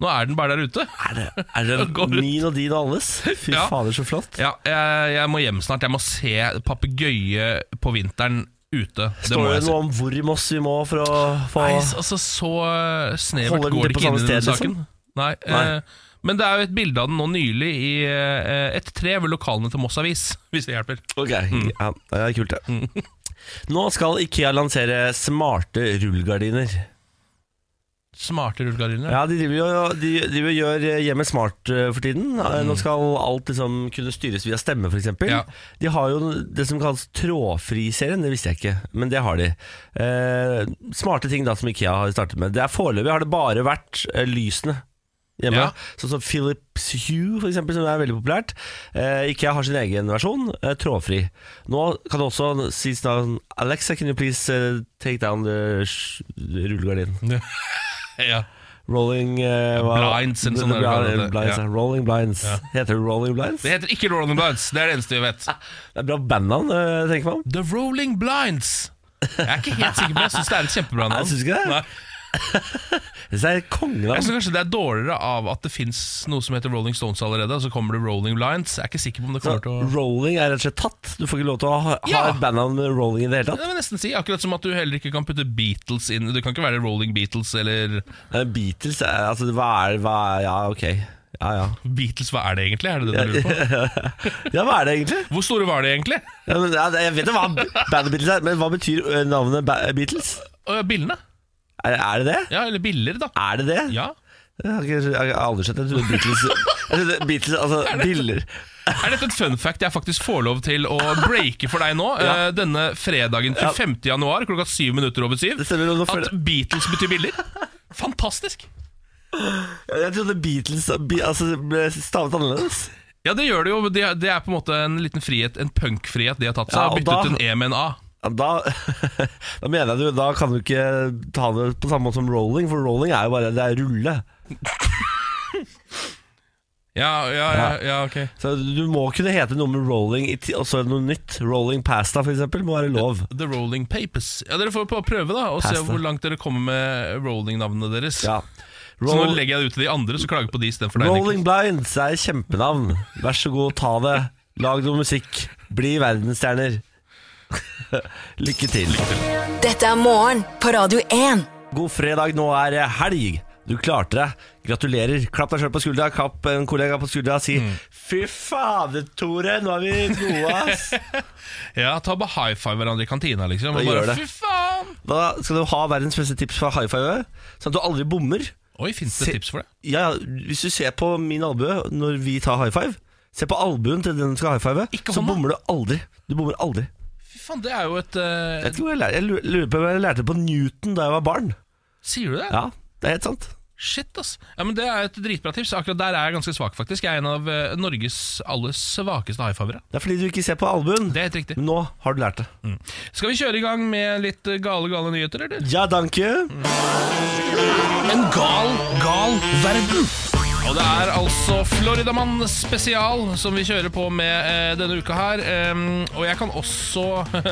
Speaker 2: Nå er den bare der ute.
Speaker 1: Er det, er
Speaker 2: Går
Speaker 1: det
Speaker 2: rundt.
Speaker 1: min og din og alles? Fy
Speaker 2: Ja.
Speaker 1: fader, så flott.
Speaker 2: Ja, jeg, jeg må hjem snart. Jeg må se papegøye på vinteren ute. Det må
Speaker 1: Står det
Speaker 2: jeg se.
Speaker 1: noe om hvor i Moss vi må for å få
Speaker 2: Nei, altså Så eh, snevert
Speaker 1: Holder den
Speaker 2: går
Speaker 1: til
Speaker 2: det
Speaker 1: på
Speaker 2: ikke inn
Speaker 1: samme
Speaker 2: i denne
Speaker 1: sted,
Speaker 2: saken.
Speaker 1: liksom?
Speaker 2: Nei,
Speaker 1: Nei.
Speaker 2: eh, men det er jo et bilde av den nå nylig i eh, et tre ved lokalene til Moss Avis, hvis det hjelper.
Speaker 1: Ok, ja, det er kult, det. Nå skal Ikea lansere smarte rullegardiner.
Speaker 2: Smarte rullegardiner.
Speaker 1: Ja, De driver jo de, driver og gjør hjemmet smart eh, for tiden. Eh, Nå skal alt liksom kunne styres via stemme, f.eks.
Speaker 2: Mm. Ja.
Speaker 1: De har jo det som kalles trådfriserien. Det visste jeg ikke, men det har de. Eh, smarte ting da som Ikea har startet med. Det er Foreløpig har det bare vært eh, lysene. Hjemme.
Speaker 2: Ja.
Speaker 1: Sånn som Philips Hue, for eksempel, som er veldig populært. Eh, Ikea har sin egen versjon, eh, trådfri. Nå kan det også sies da Alexa, can you please eh, take down the sh- rullegardinen?
Speaker 2: Ja.
Speaker 1: Rolling eh, hva-
Speaker 2: Blinds, eller sånn
Speaker 1: Bl-
Speaker 2: er det
Speaker 1: bl-
Speaker 2: det.
Speaker 1: blinds,
Speaker 2: Ja.
Speaker 1: ja. Rolling Blinds. Heter det Rolling Blinds?
Speaker 2: Det heter ikke Rolling Blinds, det er det eneste vi vet.
Speaker 1: Det er bra bandnavn, eh, tenker man.
Speaker 2: The Rolling Blinds. Jeg er ikke helt sikker, men jeg syns det er et kjempebra
Speaker 1: Nei,
Speaker 2: navn.
Speaker 1: syns du ikke det?
Speaker 2: Nei.
Speaker 1: Det er kongenavn.
Speaker 2: Jeg synes kanskje det er dårligere av at det fins noe som heter Rolling Stones allerede, og så kommer det Rolling Blinds. Jeg er ikke sikker på om det
Speaker 1: Så
Speaker 2: kommer til å
Speaker 1: Rolling er rett og slett tatt. Du får ikke lov til å ha, ha
Speaker 2: Ja.
Speaker 1: et bandnavn med Rolling i det hele tatt.
Speaker 2: Det vil jeg nesten si, Akkurat som at du heller ikke kan putte Beatles inn. Du kan ikke være Rolling Beatles eller
Speaker 1: Eh, Beatles, eh, altså hva er, hva er Ja, ok. Ja, ja.
Speaker 2: Beatles, hva er det egentlig? Er det det du lurer på?
Speaker 1: ja, hva er det egentlig?
Speaker 2: Hvor store var de egentlig?
Speaker 1: Ja, men, ja, jeg vet jo hva bandet Beatles er, men hva betyr eh, navnet ba Beatles?
Speaker 2: Å, ja, Billene?
Speaker 1: Er, er det det?
Speaker 2: Ja, eller biller, da.
Speaker 1: Er det det?
Speaker 2: Ja.
Speaker 1: Jeg har, ikke, jeg har aldri sett det. Jeg trodde Beatles, jeg trodde Beatles Altså, biller
Speaker 2: Er dette et fun fact jeg faktisk får lov til å breake for deg nå? eh, Denne fredagen 25. januar klokka syv minutter over syv.
Speaker 1: Det stemmer. og nå føler-
Speaker 2: At Beatles betyr biller? Fantastisk!
Speaker 1: Jeg trodde Beatles be, altså, ble stavet annerledes.
Speaker 2: Ja, det gjør det jo. men Det det er på en måte en liten frihet, en punkfrihet de har tatt seg.
Speaker 1: Ja, og
Speaker 2: og byttet
Speaker 1: da-
Speaker 2: ut en E med en A.
Speaker 1: Ja, Da, da mener jeg du, da kan du ikke ta det på samme måte som rolling, for rolling er jo bare det er rulle.
Speaker 2: Ja, ja, ja, ja ok.
Speaker 1: Så Du må kunne hete noe med rolling i ti- og så noe nytt. Rolling pasta, for eksempel, må være lov.
Speaker 2: The Rolling Papers. Ja, Dere får på prøve da og se
Speaker 1: Pasta.
Speaker 2: hvor langt dere kommer med rolling-navnene deres.
Speaker 1: Ja.
Speaker 2: Så nå
Speaker 1: Roll,
Speaker 2: legger jeg det ut til de andre, så klager jeg på de istedenfor deg. Niklas.
Speaker 1: rolling Blinds er kjempenavn. Vær så god, ta det. Lag noe musikk. Bli verdensstjerner. Lykke til.
Speaker 4: Dette er morgen på Radio 1.
Speaker 1: God fredag, nå er det helg. Du klarte det. Gratulerer. Klapp deg sjøl på skuldra, klapp en kollega på skuldra og si 'fy fader, Tore, nå er vi gode', ass.
Speaker 2: Ja, ta bare high five hverandre i kantina, liksom. Og
Speaker 1: Ja, gjør
Speaker 2: bare,
Speaker 1: det.
Speaker 2: fy faen!
Speaker 1: Da skal du ha verdens beste tips fra high five, sånn at du aldri bommer.
Speaker 2: Oi, fins
Speaker 1: Se-
Speaker 2: det tips for det?
Speaker 1: Ja, ja, hvis du ser på min albue når vi tar high five, se på albuen til den du skal high five, eh?
Speaker 2: Ikke
Speaker 1: så
Speaker 2: hånda.
Speaker 1: bommer du aldri. Du bommer aldri.
Speaker 2: Fy faen, det er jo et eh,
Speaker 1: Jeg, vet ikke hvor jeg, lær- jeg lu- lurer på hva jeg lærte på Newton da jeg var barn.
Speaker 2: Sier du det?
Speaker 1: Ja, det er helt sant.
Speaker 2: Shit, ass. Ja, men Det er et dritbra tips. Akkurat der er jeg ganske svak, faktisk. Jeg er en av eh, Norges aller svakeste high fivere.
Speaker 1: Det er fordi du ikke ser på albuen.
Speaker 2: Det er helt riktig.
Speaker 1: Men nå har du lært det.
Speaker 2: Skal vi kjøre i gang med litt eh, gale, gale nyheter, eller?
Speaker 1: Ja, danke.
Speaker 2: En gal, gal verden. Og det er altså Floridamann spesial som vi kjører på med eh, denne uka her. Em, og jeg kan også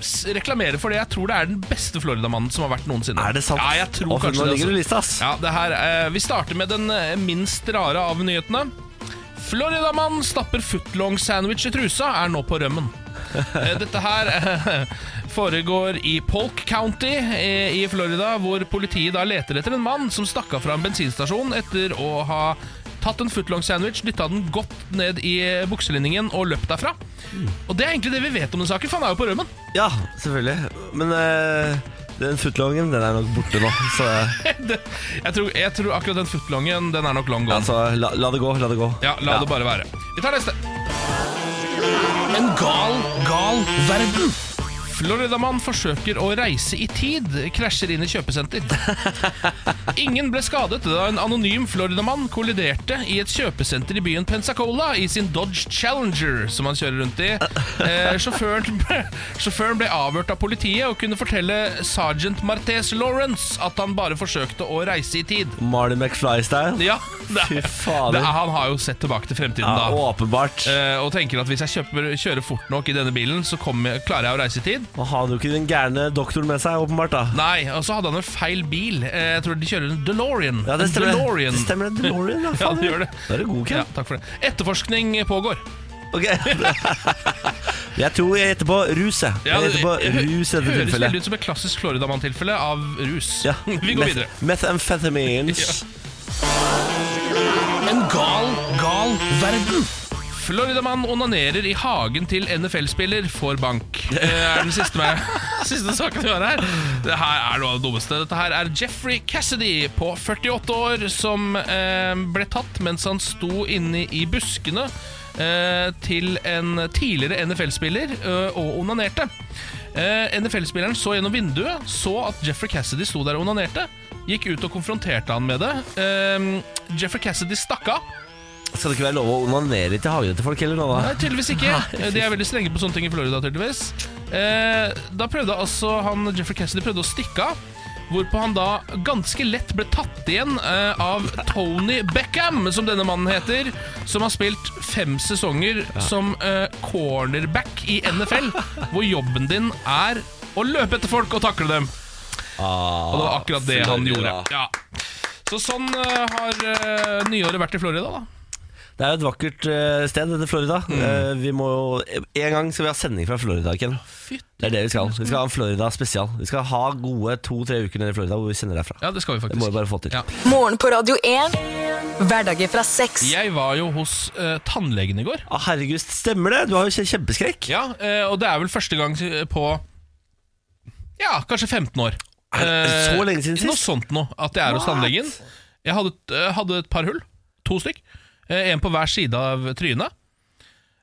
Speaker 2: s- reklamere for det. Jeg tror det er den beste Floridamannen som har vært noensinne.
Speaker 1: Er det sant?
Speaker 2: Ja, jeg tror
Speaker 1: Å, for
Speaker 2: kanskje
Speaker 1: nå
Speaker 2: det.
Speaker 1: ligger du i
Speaker 2: altså.
Speaker 1: lista, ass.
Speaker 2: Ja, det her, eh, vi starter med den eh, minst rare av nyhetene. Floridamann stapper footlong-sandwich i trusa, er nå på rømmen. Eh, Dette her eh, foregår i Polk County eh, i Florida, hvor politiet da leter etter en mann som stakk av fra en bensinstasjon etter å ha tatt en footlong sandwich, dytta den godt ned i eh, bukselinningen og løpt derfra. Og det er egentlig det vi vet om den saken, for han er jo på rømmen.
Speaker 1: Ja, selvfølgelig. Men eh, den footlongen den er nok borte nå. Så eh,
Speaker 2: Det- jeg, tror, jeg tror akkurat den footlongen, den er nok long gone.
Speaker 1: altså, la, la det gå. La det gå.
Speaker 2: Ja, la det bare være. Vi tar neste. En gal, gal verden. Floridamann forsøker å reise i tid, krasjer inn i kjøpesenter. Ingen ble skadet da en anonym Floridamann kolliderte i et kjøpesenter i byen Pensacola i sin Dodge Challenger, som han kjører rundt i. Eh, sjåføren, ble, sjåføren ble avhørt av politiet og kunne fortelle sergeant Martez Lawrence at han bare forsøkte å reise i tid.
Speaker 1: Marty McFly-style.
Speaker 2: Ja, det,
Speaker 1: Fy
Speaker 2: er-
Speaker 1: fader.
Speaker 2: det, er- han har jo sett tilbake til fremtiden,
Speaker 1: Ja,
Speaker 2: da.
Speaker 1: åpenbart.
Speaker 2: Eh, og tenker at hvis jeg kjøper, kjører fort nok i denne bilen, så kommer, jeg- klarer jeg å reise i tid.
Speaker 1: Og hadde jo ikke den gærne doktoren med seg, åpenbart. da
Speaker 2: Nei, og så hadde han en feil bil. Eh, jeg tror de kjører en DeLorean.
Speaker 1: Ja, det
Speaker 2: En
Speaker 1: stemmer.
Speaker 2: DeLorean.
Speaker 1: Det stemmer det, DeLorean, ja,
Speaker 2: Ja,
Speaker 1: faen,
Speaker 2: det gjør det.
Speaker 1: Da er du god, Ken.
Speaker 2: Ja, takk for det. Etterforskning pågår.
Speaker 1: Ok Jeg tror jeg gjetter på rus, jeg.
Speaker 2: Ja,
Speaker 1: Jeg gjetter på rus i dette
Speaker 2: det- høres veldig
Speaker 1: tilfellet.
Speaker 2: ut som et klassisk Floridamann-tilfelle av rus.
Speaker 1: Ja.
Speaker 2: Vi går
Speaker 1: meth-
Speaker 2: videre.
Speaker 1: Methamphetamines.
Speaker 2: En gal, gal verden. Floridamann onanerer i hagen til NFL-spiller, får bank. Det er den siste, med, siste saken vi har her. Det her er noe av det dummeste. Dette her er Jeffrey Cassidy på 48 år som eh, ble tatt mens han sto inne i buskene eh, til en tidligere NFL-spiller eh, og onanerte. Eh, NFL-spilleren så gjennom vinduet, så at Jeffrey Cassidy sto der og onanerte. Gikk ut og konfronterte han med det. Eh, Jeffrey Cassidy stakk av.
Speaker 1: Skal det ikke være lov å onanere til hagen til folk heller nå, da?
Speaker 2: Nei, tydeligvis ikke. Eh, De er veldig strenge på sånne ting i Florida, tydeligvis. Eh, da prøvde altså han Jeffrey Cassidy prøvde å stikke av. Hvorpå han da ganske lett ble tatt igjen eh, av Tony Beckham, som denne mannen heter. Som har spilt fem sesonger som eh, cornerback i NFL, hvor jobben din er å løpe etter folk og takle dem. Og det var akkurat det han gjorde.
Speaker 1: Florida.
Speaker 2: Ja. Så sånn eh, har eh, nyåret vært i Florida, da.
Speaker 1: Det er jo et vakkert eh, sted, dette Florida.
Speaker 2: Mm.
Speaker 1: Eh, Vi må jo, En gang skal vi ha sending fra Florida, Ken. Det er det vi skal. Vi skal ha en Florida spesial. Vi skal ha gode to-tre uker nede i Florida hvor vi sender derfra.
Speaker 2: Ja, det skal vi
Speaker 1: Det
Speaker 2: faktisk.
Speaker 1: må vi bare få til.
Speaker 2: Ja.
Speaker 4: Morgen på Radio 1. Hverdager fra seks.
Speaker 2: Jeg var jo hos eh, tannlegen i går.
Speaker 1: Ah, herregud, stemmer det? Du har jo kje- kjempeskrekk.
Speaker 2: Ja, eh, Og det er vel første gang eh, på Ja, kanskje 15 år.
Speaker 1: Er det
Speaker 2: Eh,
Speaker 1: så lenge siden sist?
Speaker 2: Noe sånt nå, at jeg er hos
Speaker 1: What?
Speaker 2: tannlegen. Jeg hadde, et- eh, hadde et par hull. To stykk. Eh, en på hver side av trynet.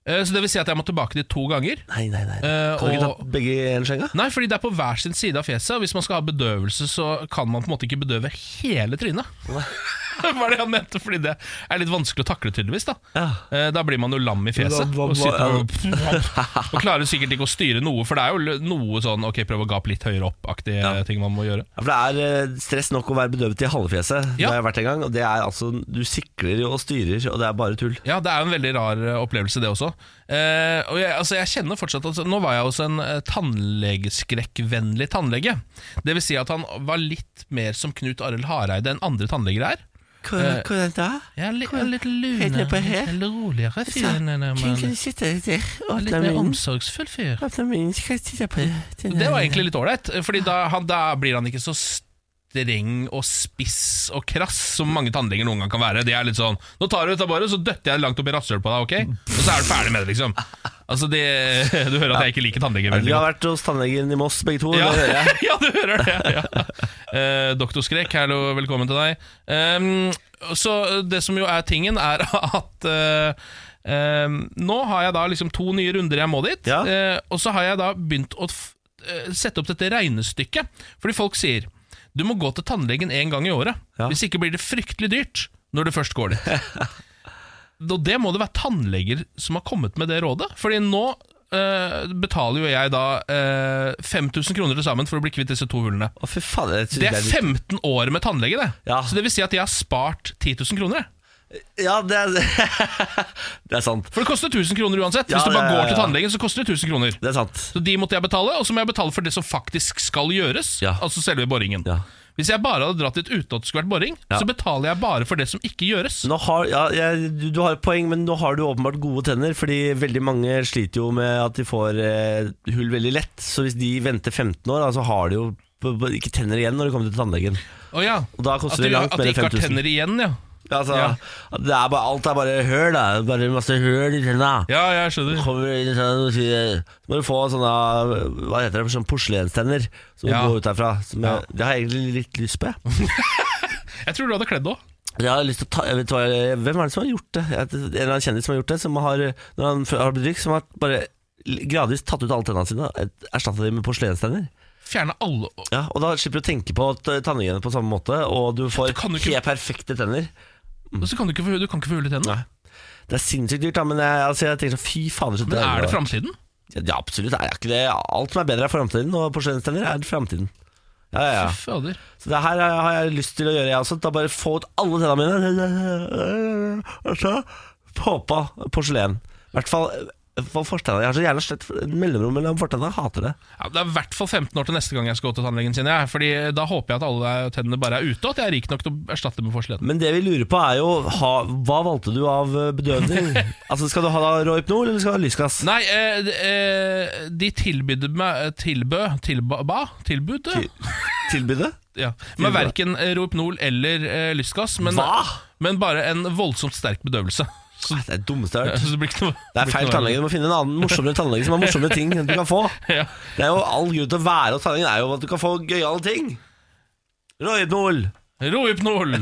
Speaker 2: Eh, så det vil si at jeg må tilbake dit to ganger.
Speaker 1: Nei, nei, nei.
Speaker 2: Eh,
Speaker 1: Kan du ikke
Speaker 2: og-
Speaker 1: ta begge i en skjenga?
Speaker 2: Nei, fordi det er på hver sin side av fjeset, og hvis man skal ha bedøvelse, så kan man på en måte ikke bedøve hele trynet. Hva er det han mente? Fordi det er litt vanskelig å takle, tydeligvis. Da
Speaker 1: Ja.
Speaker 2: Eh, Da blir man jo lam i fjeset.
Speaker 1: Hva- hva-
Speaker 2: Og, sitter og, og klarer sikkert ikke å styre noe, for det er jo l- noe sånn Ok, prøv å gape litt høyere opp-aktige ting man må gjøre.
Speaker 1: Ja, For det er eh, stress nok å være bedøvet i halvfjeset. Det
Speaker 2: Ja.
Speaker 1: har jeg vært en gang. Og det er altså Du sikler jo og styrer, og det er bare tull.
Speaker 2: Ja, det er jo en veldig rar eh, opplevelse, det også. Eh, og jeg, altså, jeg kjenner fortsatt at Nå var jeg hos en eh, tannlegeskrekkvennlig tannlege. Det vil si at han var litt mer som Knut Arild Hareide enn andre tannleger er.
Speaker 1: Hva,
Speaker 2: Eh,
Speaker 1: hva er det da?
Speaker 2: Jeg er litt,
Speaker 1: Hva-
Speaker 2: litt lune,
Speaker 1: helt ned på her?
Speaker 2: litt roligere fyr. enn den der mannen.
Speaker 1: sitte der?
Speaker 2: Litt mer omsorgsfull fyr. Eh,
Speaker 1: Åpne munnen, så kan jeg sitte på det.
Speaker 2: Det var egentlig litt ålreit, Fordi da, han, da blir han ikke så streng og spiss og krass som mange tannleger noen gang kan være. De er litt sånn 'Nå tar du ut av boret, så døtter jeg langt opp i rasshølet på deg', ok? Og så er du ferdig med det, liksom. Altså, det, Du hører at jeg ikke liker tannleger
Speaker 1: Vi
Speaker 2: veldig
Speaker 1: har
Speaker 2: godt.
Speaker 1: vært hos tannlegen i Moss, begge to.
Speaker 2: Ja.
Speaker 1: det hører jeg.
Speaker 2: ja, du hører det. Ja. Eh, Doktor Skrek, hallo, velkommen til deg. Ehm, så det som jo er tingen, er at eh, ehm, nå har jeg da liksom to nye runder jeg må dit,
Speaker 1: Ja.
Speaker 2: eh, og så har jeg da begynt å f eh, sette opp dette regnestykket. Fordi folk sier du må gå til tannlegen én gang i året,
Speaker 1: Ja.
Speaker 2: hvis ikke blir det fryktelig dyrt når du først går dit. Og det må det være tannleger som har kommet med det rådet. Fordi nå eh, betaler jo jeg da eh, 5000 kroner til sammen for å bli kvitt disse to hullene.
Speaker 1: Å, fy faen. Jeg synes
Speaker 2: Det er
Speaker 1: litt-
Speaker 2: 15 år med tannlege, det.
Speaker 1: Ja.
Speaker 2: Så det vil si at jeg har spart 10 000 kroner. jeg.
Speaker 1: Ja, det er, det er sant.
Speaker 2: For det koster 1000 kroner uansett.
Speaker 1: Ja,
Speaker 2: Hvis du bare
Speaker 1: ja, ja,
Speaker 2: går til
Speaker 1: ja.
Speaker 2: tannlegen, så koster det 1000 kroner.
Speaker 1: Det er sant.
Speaker 2: Så de måtte jeg betale, og så må jeg betale for det som faktisk skal gjøres.
Speaker 1: Ja.
Speaker 2: Altså selve boringen.
Speaker 1: Ja.
Speaker 2: Hvis jeg bare hadde dratt dit uten at det skulle vært boring,
Speaker 1: Ja.
Speaker 2: så betaler jeg bare for det som ikke gjøres.
Speaker 1: Nå har, ja, jeg, du, du har et poeng, men nå har du åpenbart gode tenner. Fordi veldig mange sliter jo med at de får eh, hull veldig lett. Så hvis de venter 15 år, da, så har de jo p- p- ikke tenner igjen når de kommer til tannlegen.
Speaker 2: Å ja.
Speaker 1: Og da koster
Speaker 2: at
Speaker 1: det
Speaker 2: du,
Speaker 1: langt
Speaker 2: at
Speaker 1: mer
Speaker 2: de
Speaker 1: enn
Speaker 2: ikke har
Speaker 1: 5000.
Speaker 2: tenner igjen, ja.
Speaker 1: Altså,
Speaker 2: Ja.
Speaker 1: det er bare, alt er bare høl, da. Det er Bare masse høl i tenna.
Speaker 2: Ja, jeg skjønner.
Speaker 1: Kommer inn sånn og sier Så må du få sånne Hva heter det? Sånne porselenstenner som
Speaker 2: Ja.
Speaker 1: går ut derfra. Som jeg, det har jeg egentlig litt lyst på, jeg.
Speaker 2: Jeg tror du hadde kledd òg.
Speaker 1: jeg har lyst til å ta, jeg vet hva, jeg- hvem er det som har gjort det? Jeg- En eller annen kjendis som har gjort det, som har, når han f- har blitt rik, som har bare gradvis tatt ut alle tennene sine og erstatta dem med porselenstenner.
Speaker 2: Fjerne alle å,
Speaker 1: Ja, og da slipper du å tenke på t- tannhygiene på samme måte, og du får
Speaker 2: kan jo ikke-
Speaker 1: helt perfekte tenner.
Speaker 2: Så kan du ikke få, du kan ikke få hull i tennene.
Speaker 1: Nei. Det er sinnssykt dyrt, da, men jeg, altså, jeg tenker sånn fy fader. så
Speaker 2: Men er det
Speaker 1: bra.
Speaker 2: framtiden?
Speaker 1: Ja, absolutt. Det er ikke det. Alt som er bedre, er framtiden, og porselenstenner er framtiden. Ja, ja, ja.
Speaker 2: Fy fader.
Speaker 1: Så det her har jeg lyst til å gjøre, jeg også. Da bare få ut alle tennene mine, og så få på porselen. I hvert fall på fortenna. Jeg har så gjerne slett mellomrom mellom fortenna. Jeg hater det.
Speaker 2: Ja, det er i hvert fall 15 år til neste gang jeg skal gå til tannlegen, kjenner jeg. Fordi eh, da håper jeg at alle tennene bare er ute, og at jeg er rik nok til å erstatte med forsleden.
Speaker 1: Men det vi lurer på, er jo ha, hva valgte du av eh, bedøvning? altså, Skal du ha da Rohypnol, eller skal du ha lysgass?
Speaker 2: Nei, eh, d- eh, de tilbydde meg Tilbød Tilba? ba- Tilbud? ja.
Speaker 1: Til- Tilbudet?
Speaker 2: Ja. Med verken eh, Rohypnol eller eh, lystgass, men,
Speaker 1: Hva?
Speaker 2: men bare en voldsomt sterk bedøvelse.
Speaker 1: Nei, Det er det dummeste jeg har hørt.
Speaker 2: Så det blir ikke noe
Speaker 1: Det er
Speaker 2: blir
Speaker 1: feil
Speaker 2: ikke noe-
Speaker 1: tannlege. Du må finne en annen morsommere tannlege som har morsomme ting du kan få.
Speaker 2: Ja.
Speaker 1: Det er jo all grunn til å være hos tannlegen, er jo at du kan få gøyale ting. Rohypnol!
Speaker 2: Rohypnol,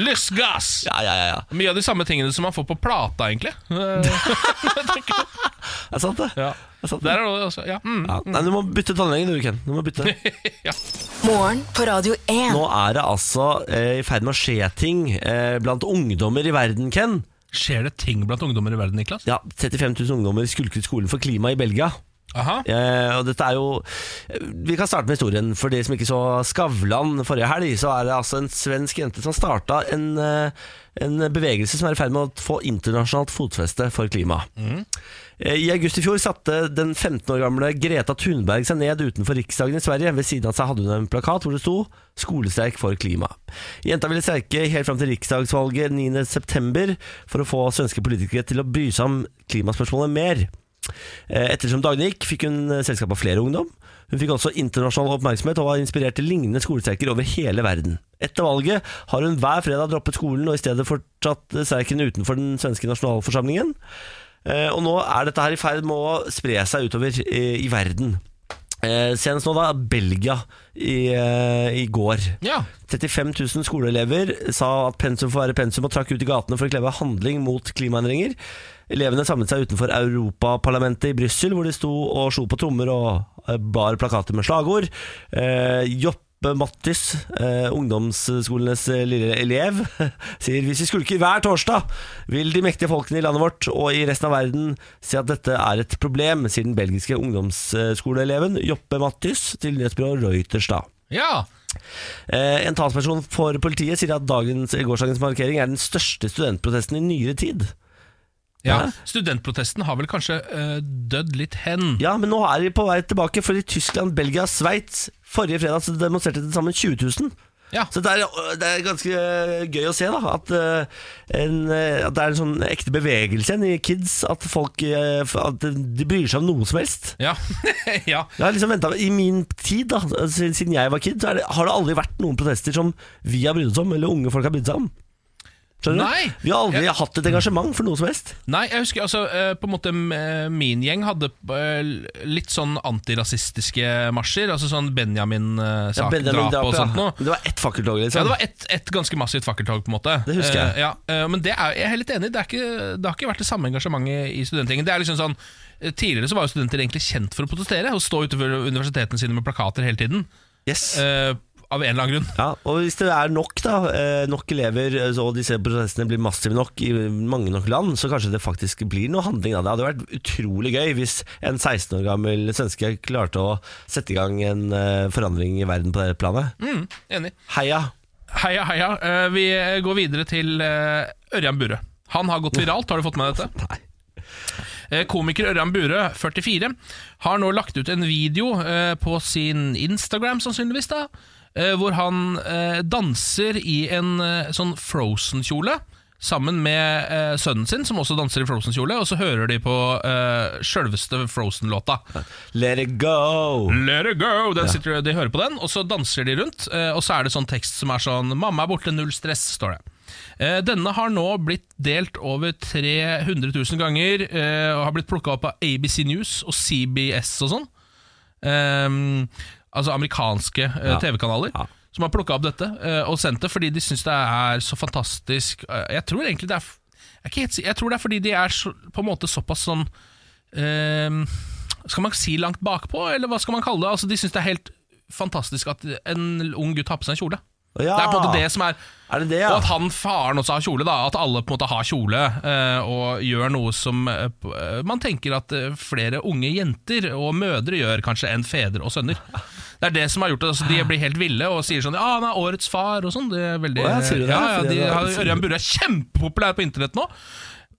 Speaker 2: lystgass!
Speaker 1: Ja, ja, ja, ja.
Speaker 2: Mye av de samme tingene som man får på plata, egentlig. Eh,
Speaker 1: Det er sant, det.
Speaker 2: ja.
Speaker 1: det, er sant,
Speaker 2: Der
Speaker 1: det.
Speaker 2: er det også, ja. Mm.
Speaker 1: Ja. Nei, du må bytte tannlegen du, Ken. Du må bytte.
Speaker 4: Morgen på Radio 1.
Speaker 1: Nå er det altså eh, i ferd med å skje ting eh, blant ungdommer i verden, Ken.
Speaker 2: Skjer det ting blant ungdommer i verden, Niklas?
Speaker 1: Ja, 35 000 ungdommer skulket skolen for klima i Belgia.
Speaker 2: Aha.
Speaker 1: Eh, og dette er jo Vi kan starte med historien. For de som ikke så Skavlan forrige helg, så er det altså en svensk jente som starta en, eh, en bevegelse som er i ferd med å få internasjonalt fotfeste for klima. Eh, I august i fjor satte den 15 år gamle Greta Thunberg seg ned utenfor Riksdagen i Sverige. Ved siden av seg hadde hun en plakat hvor det sto 'Skolestreik for klima'. Jenta ville streike helt fram til riksdagsvalget 9.9. for å få svenske politikere til å bry seg om klimaspørsmålet mer. Eh, Ettersom dagene gikk, fikk hun eh, selskap av flere ungdom. Hun fikk også internasjonal oppmerksomhet og var inspirert til lignende skolestreiker over hele verden. Etter valget har hun hver fredag droppet skolen og i stedet fortsatt eh, streiken utenfor den svenske nasjonalforsamlingen. Eh, Og nå er dette her i ferd med å spre seg utover eh, i verden. Eh, Senest nå da, Belgia i, eh, i går.
Speaker 2: Ja.
Speaker 1: 35 000 skoleelever sa at pensum får være pensum og trakk ut i gatene for å kleve handling mot klimaendringer. Elevene samlet seg utenfor Europaparlamentet i Brussel, hvor de sto og slo på trommer og eh, bar plakater med slagord. Eh, Joppe Mattis, eh, ungdomsskolenes eh, lille elev, sier hvis vi skulker hver torsdag, vil de mektige folkene i landet vårt og i resten av verden si at dette er et problem, sier den belgiske ungdomsskoleeleven Joppe Mattis til nyhetsbyrået Reuters. da.
Speaker 2: ja.
Speaker 1: Eh, En talsperson for politiet sier at dagens, eller gårsdagens markering er den største studentprotesten i nyere tid.
Speaker 2: Ja,
Speaker 1: Hæ?
Speaker 2: Studentprotesten har vel kanskje eh, dødd litt hen.
Speaker 1: Ja, men nå er de på vei tilbake, for i Tyskland, Belgia, Sveits Forrige fredag så demonstrerte til sammen 20 000.
Speaker 2: Ja.
Speaker 1: Så det er, øh, det er ganske eh, gøy å se da at, eh, en, eh, at det er en sånn ekte bevegelse igjen i kids. At folk eh, f- at de bryr seg om noe som helst.
Speaker 2: Ja. ja.
Speaker 1: Jeg har liksom ventet, I min tid, da siden siden jeg var kid, så er det, har det aldri vært noen protester som vi har brydd oss om, eller unge folk har brydd seg om. Skjønner
Speaker 2: Nei.
Speaker 1: du? Vi har aldri hatt et engasjement for noe som helst.
Speaker 2: Nei, jeg husker altså eh, På en måte eh, min gjeng hadde eh, litt sånn antirasistiske marsjer. Altså sånn
Speaker 1: Ja,
Speaker 2: Benjamin-sak,
Speaker 1: Benjamin
Speaker 2: drap
Speaker 1: Drap,
Speaker 2: og
Speaker 1: ja.
Speaker 2: sånt noe.
Speaker 1: Det var ett fakkeltog, liksom.
Speaker 2: Ja, det var ett et ganske massivt fakkeltog, på en måte.
Speaker 1: Det husker jeg.
Speaker 2: Eh, ja, eh, men det er, jeg er helt enig, det, er ikke, det har ikke vært det samme engasjementet i studentgjengen. Det er liksom sånn, eh, Tidligere så var jo studenter egentlig kjent for å protestere og stå utenfor universitetene sine med plakater hele tiden.
Speaker 1: yes.
Speaker 2: eh, av en eller annen grunn.
Speaker 1: Ja, og hvis det er nok da, eh, nok elever eh, så disse protestene blir massive nok i mange nok land, så kanskje det faktisk blir noe handling av det. Det hadde vært utrolig gøy hvis en 16 år gammel svenske klarte å sette i gang en eh, forandring i verden på det planet.
Speaker 2: Mm, enig.
Speaker 1: Heia!
Speaker 2: Heia, heia. Eh, vi eh, går videre til eh, Ørjan Burøe. Han har gått viralt, har du fått med deg dette?
Speaker 1: Nei.
Speaker 2: Eh, Komiker Ørjan Burøe, 44, har nå lagt ut en video eh, på sin Instagram, sannsynligvis, da, eh, hvor han eh, danser i en eh, sånn Frozen-kjole. Sammen med eh, sønnen sin, som også danser i Frozen-kjole, og så hører de på eh, sjølveste Frozen-låta.
Speaker 1: Let it go!
Speaker 2: Let it go! Den sitter, de hører på den, og så danser de rundt. eh, Og så er det sånn tekst som er sånn 'Mamma er borte, null stress', står det. Eh, Denne har nå blitt delt over 300 000 ganger eh, og har blitt plukka opp av ABC News og CBS og sånn. Ehm, altså amerikanske eh, TV-kanaler.
Speaker 1: Ja.
Speaker 2: Som har plukka opp dette eh, og sendt det fordi de syns det er så fantastisk. Eh, Jeg tror egentlig det er f- Jeg, er ikke helt, si- jeg tror det er fordi de er så, på en måte såpass sånn ehm, Skal man si langt bakpå, eller hva skal man kalle det? Altså, de syns det er helt fantastisk at en ung gutt har på seg en kjole.
Speaker 1: Ja.
Speaker 2: Det er på en måte det som er
Speaker 1: Er det det, Ah. ja?
Speaker 2: og at han faren også har kjole, da. At alle på en måte har kjole eh, og gjør noe som eh, p- eh, man tenker at eh, flere unge jenter og mødre gjør kanskje enn fedre og sønner. Det er det som har gjort det. Altså, de blir helt ville og sier sånn Ja, han er årets far og sånn. Det er veldig
Speaker 1: Å, ja, sier du det?
Speaker 2: Ja, ja,
Speaker 1: Fordi
Speaker 2: de,
Speaker 1: det er-
Speaker 2: har- Ørjan Burre er kjempepopulær på internett nå.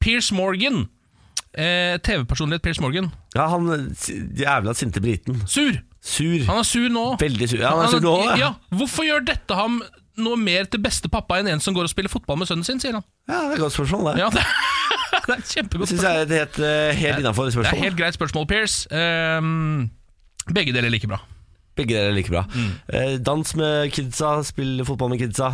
Speaker 2: Piers Morgan. Eh, TV-personlighet Piers Morgan.
Speaker 1: ja, han s- jævla sinte briten.
Speaker 2: Sur!
Speaker 1: Sur.
Speaker 2: Han er sur nå.
Speaker 1: Veldig sur. Ja, han er sur nå, ja.
Speaker 2: ja. Hvorfor gjør dette ham noe mer til beste pappa enn en som går og spiller fotball med sønnen sin, sier han.
Speaker 1: Ja, det er et godt spørsmål, det.
Speaker 2: Ja, det, det er et kjempegodt
Speaker 1: Det syns jeg er et helt, eh, helt innafor
Speaker 2: Det er
Speaker 1: spørsmål.
Speaker 2: helt greit spørsmål, Pierce. Ehm, begge deler like bra.
Speaker 1: Begge deler er like bra.
Speaker 2: Mm.
Speaker 1: Eh, dans med kidsa, spille fotball med kidsa.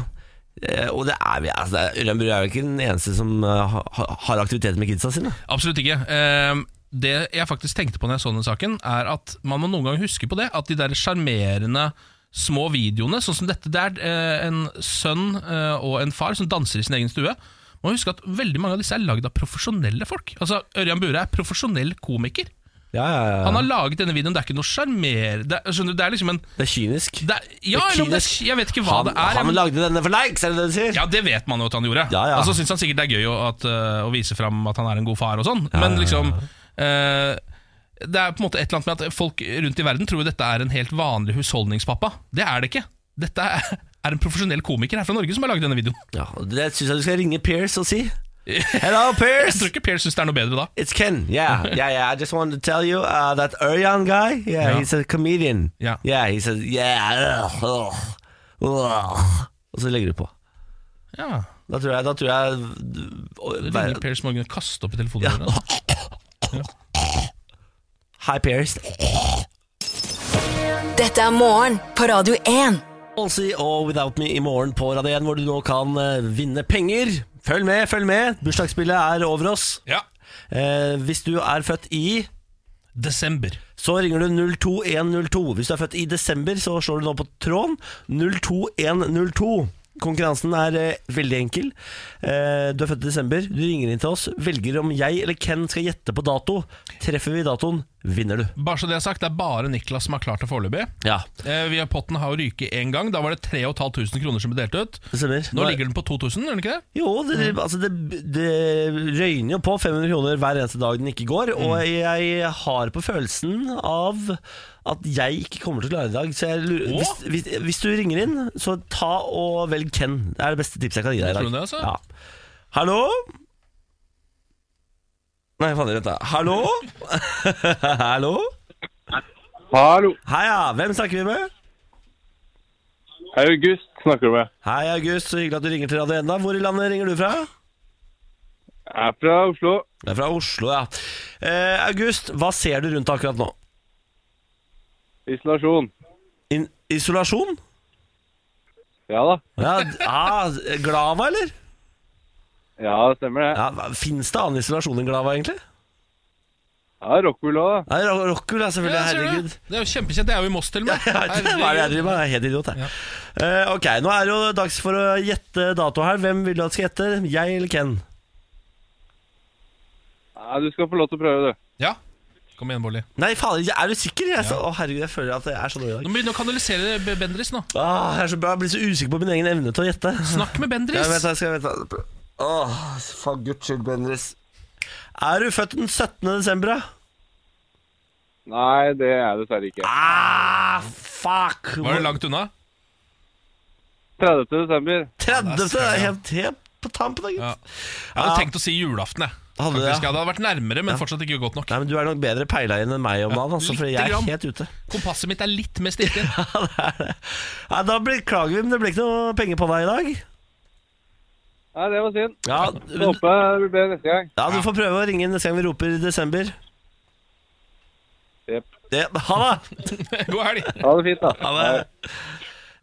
Speaker 1: Eh, og det er vi altså, det er- Ørjan Burre er jo ikke den eneste som eh, ha, har aktiviteter med kidsa sine.
Speaker 2: Absolutt ikke. Ehm, det jeg faktisk tenkte på når jeg så denne saken, er at man må noen gang huske på det. At de der sjarmerende små videoene, sånn som dette der, eh, en sønn eh, og en far som danser i sin egen stue Man må huske at veldig mange av disse er lagd av profesjonelle folk. Altså, Ørjan Bure er profesjonell komiker.
Speaker 1: Ja, ja, ja.
Speaker 2: Han har laget denne videoen, det er ikke noe sjarmerende det, er- skjønner du, det er liksom en
Speaker 1: Det er kynisk.
Speaker 2: det er, Ja,
Speaker 1: Det er
Speaker 2: eller om det
Speaker 1: kynisk.
Speaker 2: er, jeg vet ikke hva
Speaker 1: han,
Speaker 2: det er.
Speaker 1: han
Speaker 2: men-
Speaker 1: lagde denne for likes, er det det du sier?
Speaker 2: Ja, det vet man jo at han gjorde.
Speaker 1: Ja, ja.
Speaker 2: Og så syns han sikkert det er gøy å, at, øh, å vise fram at han er en god far og sånn, men liksom øh, Det er på en måte et eller annet med at folk rundt i verden tror jo dette er en helt vanlig husholdningspappa. Det er det ikke. Dette er, er en profesjonell komiker her fra Norge som har lagd denne videoen.
Speaker 1: Ja, og det syns jeg du skal ringe Pierce og si. Hello, Pierce!
Speaker 2: Jeg tror ikke Per syns det er noe bedre da.
Speaker 1: It's Ken. Yeah, yeah, yeah. I just wanted to tell you uh, that Erjan guy. Yeah,
Speaker 2: Ja.
Speaker 1: he's a comedian.
Speaker 2: Ja.
Speaker 1: Yeah, he says yeah. Ugh, ugh, ugh. Og så legger du på.
Speaker 2: Ja,
Speaker 1: Da tror jeg, da tror jeg eh,
Speaker 2: det
Speaker 1: Hver-
Speaker 2: ringer Per Morgan og kaster opp i
Speaker 1: ja.
Speaker 2: telefonen. altså. Ja.
Speaker 1: Hi, Pierce.
Speaker 4: Dette er morgen på Radio 1.
Speaker 1: Halsey og Without Me i morgen på Radio 1, hvor du nå kan eh, vinne penger. Følg med, følg med. Bursdagsspillet er over oss. Eh, hvis du er født i
Speaker 2: Desember.
Speaker 1: Så ringer du 02102. Hvis du er født i desember, så slår du nå på tråden 02102. Konkurransen er eh, veldig enkel. Eh, du er født i desember, du ringer inn til oss, velger om jeg eller Ken skal gjette på dato. Treffer vi datoen, vinner du.
Speaker 2: Bare så det er sagt, det er bare Niklas som har klart det foreløpig.
Speaker 1: Ja,
Speaker 2: Eh, vi har potten har å ryke én gang. Da var det 3500 kroner som ble delt ut.
Speaker 1: det stemmer.
Speaker 2: Nå ligger den på 2000, gjør den ikke det?
Speaker 1: Jo, det,
Speaker 2: Mm.
Speaker 1: altså det, det røyner jo på 500 kroner hver eneste dag den ikke går, og
Speaker 2: Mm.
Speaker 1: jeg har på følelsen av at jeg ikke kommer til å klare det i dag. Så jeg lurer,
Speaker 2: Åh?
Speaker 1: hvis, hvis, hvis du ringer inn, så ta og velg Ken. Det er det beste tipset jeg kan gi deg i dag.
Speaker 2: Tror du det, altså?
Speaker 1: Ja. Hallo? Nei, faen, vent da. Hallo? Hallo?
Speaker 7: Hallo,
Speaker 1: Hei, ja. Hvem snakker vi med?
Speaker 7: August snakker du med.
Speaker 1: Hei, August. Så hyggelig at du ringer til Radio 1. da. Hvor i landet ringer du fra?
Speaker 7: Jeg er fra Oslo.
Speaker 1: Det er fra Oslo, ja. Eh, August, hva ser du rundt deg akkurat nå?
Speaker 7: Isolasjon.
Speaker 1: In isolasjon?
Speaker 7: Ja da.
Speaker 1: Ja, d- ah, glava, eller?
Speaker 7: Ja, det stemmer det.
Speaker 1: Ja, hva- Fins det annen isolasjon enn glava, egentlig?
Speaker 7: Ja, Rockwool òg, da.
Speaker 1: Nei, ro- Rockwool, ja, selvfølgelig.
Speaker 2: Ja, ser du
Speaker 1: Herregud.
Speaker 2: det? Det er jo kjempekjent. Det er jo i Moss til og med.
Speaker 1: Jeg vet ikke, Hva er det jeg driver med? Jeg er helt idiot, jeg. Eh, ok, nå er det jo dags for å gjette dato her. Hvem vil du at skal gjette? Jeg eller Ken?
Speaker 7: Ja, du skal få lov til å prøve, du.
Speaker 2: Ja. Kom igjen, Bolli.
Speaker 1: Nei, faen, jeg- er du sikker? Jeg, så, å, herregud, jeg føler at jeg er så dårlig i dag.
Speaker 2: Nå begynner du å kanalisere B- Bendris nå.
Speaker 1: Ah, jeg, er så, jeg blir så usikker på min egen evne til å gjette.
Speaker 2: Snakk med Bendris.
Speaker 1: Jeg vet, jeg skal vente. Åh, for guds skyld, Bendris. Er du født den 17. desember, da?
Speaker 7: Nei, det er jeg dessverre ikke.
Speaker 1: Ah, fuck!
Speaker 2: Var du langt unna?
Speaker 7: 30. desember.
Speaker 1: 30.
Speaker 2: Ja, det er
Speaker 1: det er
Speaker 2: søren, ja.
Speaker 1: helt, helt på tampen, da,
Speaker 2: Ja.
Speaker 1: gutt.
Speaker 2: Jeg hadde tenkt å si julaften, jeg.
Speaker 1: Hadde du
Speaker 2: Faktisk,
Speaker 1: det, ja?
Speaker 2: jeg hadde vært nærmere, men fortsatt ikke godt nok.
Speaker 1: Nei, men Du er nok bedre peila inn enn meg om dagen, altså, for
Speaker 2: lite
Speaker 1: jeg er
Speaker 2: grann.
Speaker 1: helt ute.
Speaker 2: Kompasset mitt er litt mer stilt inn.
Speaker 1: Ja, det er det. Nei, da beklager vi, men det ble ikke noe penger på deg i dag.
Speaker 7: Nei, det var synd.
Speaker 1: Ja,
Speaker 7: Så
Speaker 1: du-
Speaker 7: Håper jeg det blir bedre neste gang.
Speaker 1: ja, Du får prøve å ringe inn neste gang vi roper i desember.
Speaker 7: Jep.
Speaker 1: Det, ha det!
Speaker 2: God helg.
Speaker 7: Ha det fint, da.
Speaker 1: Ha det.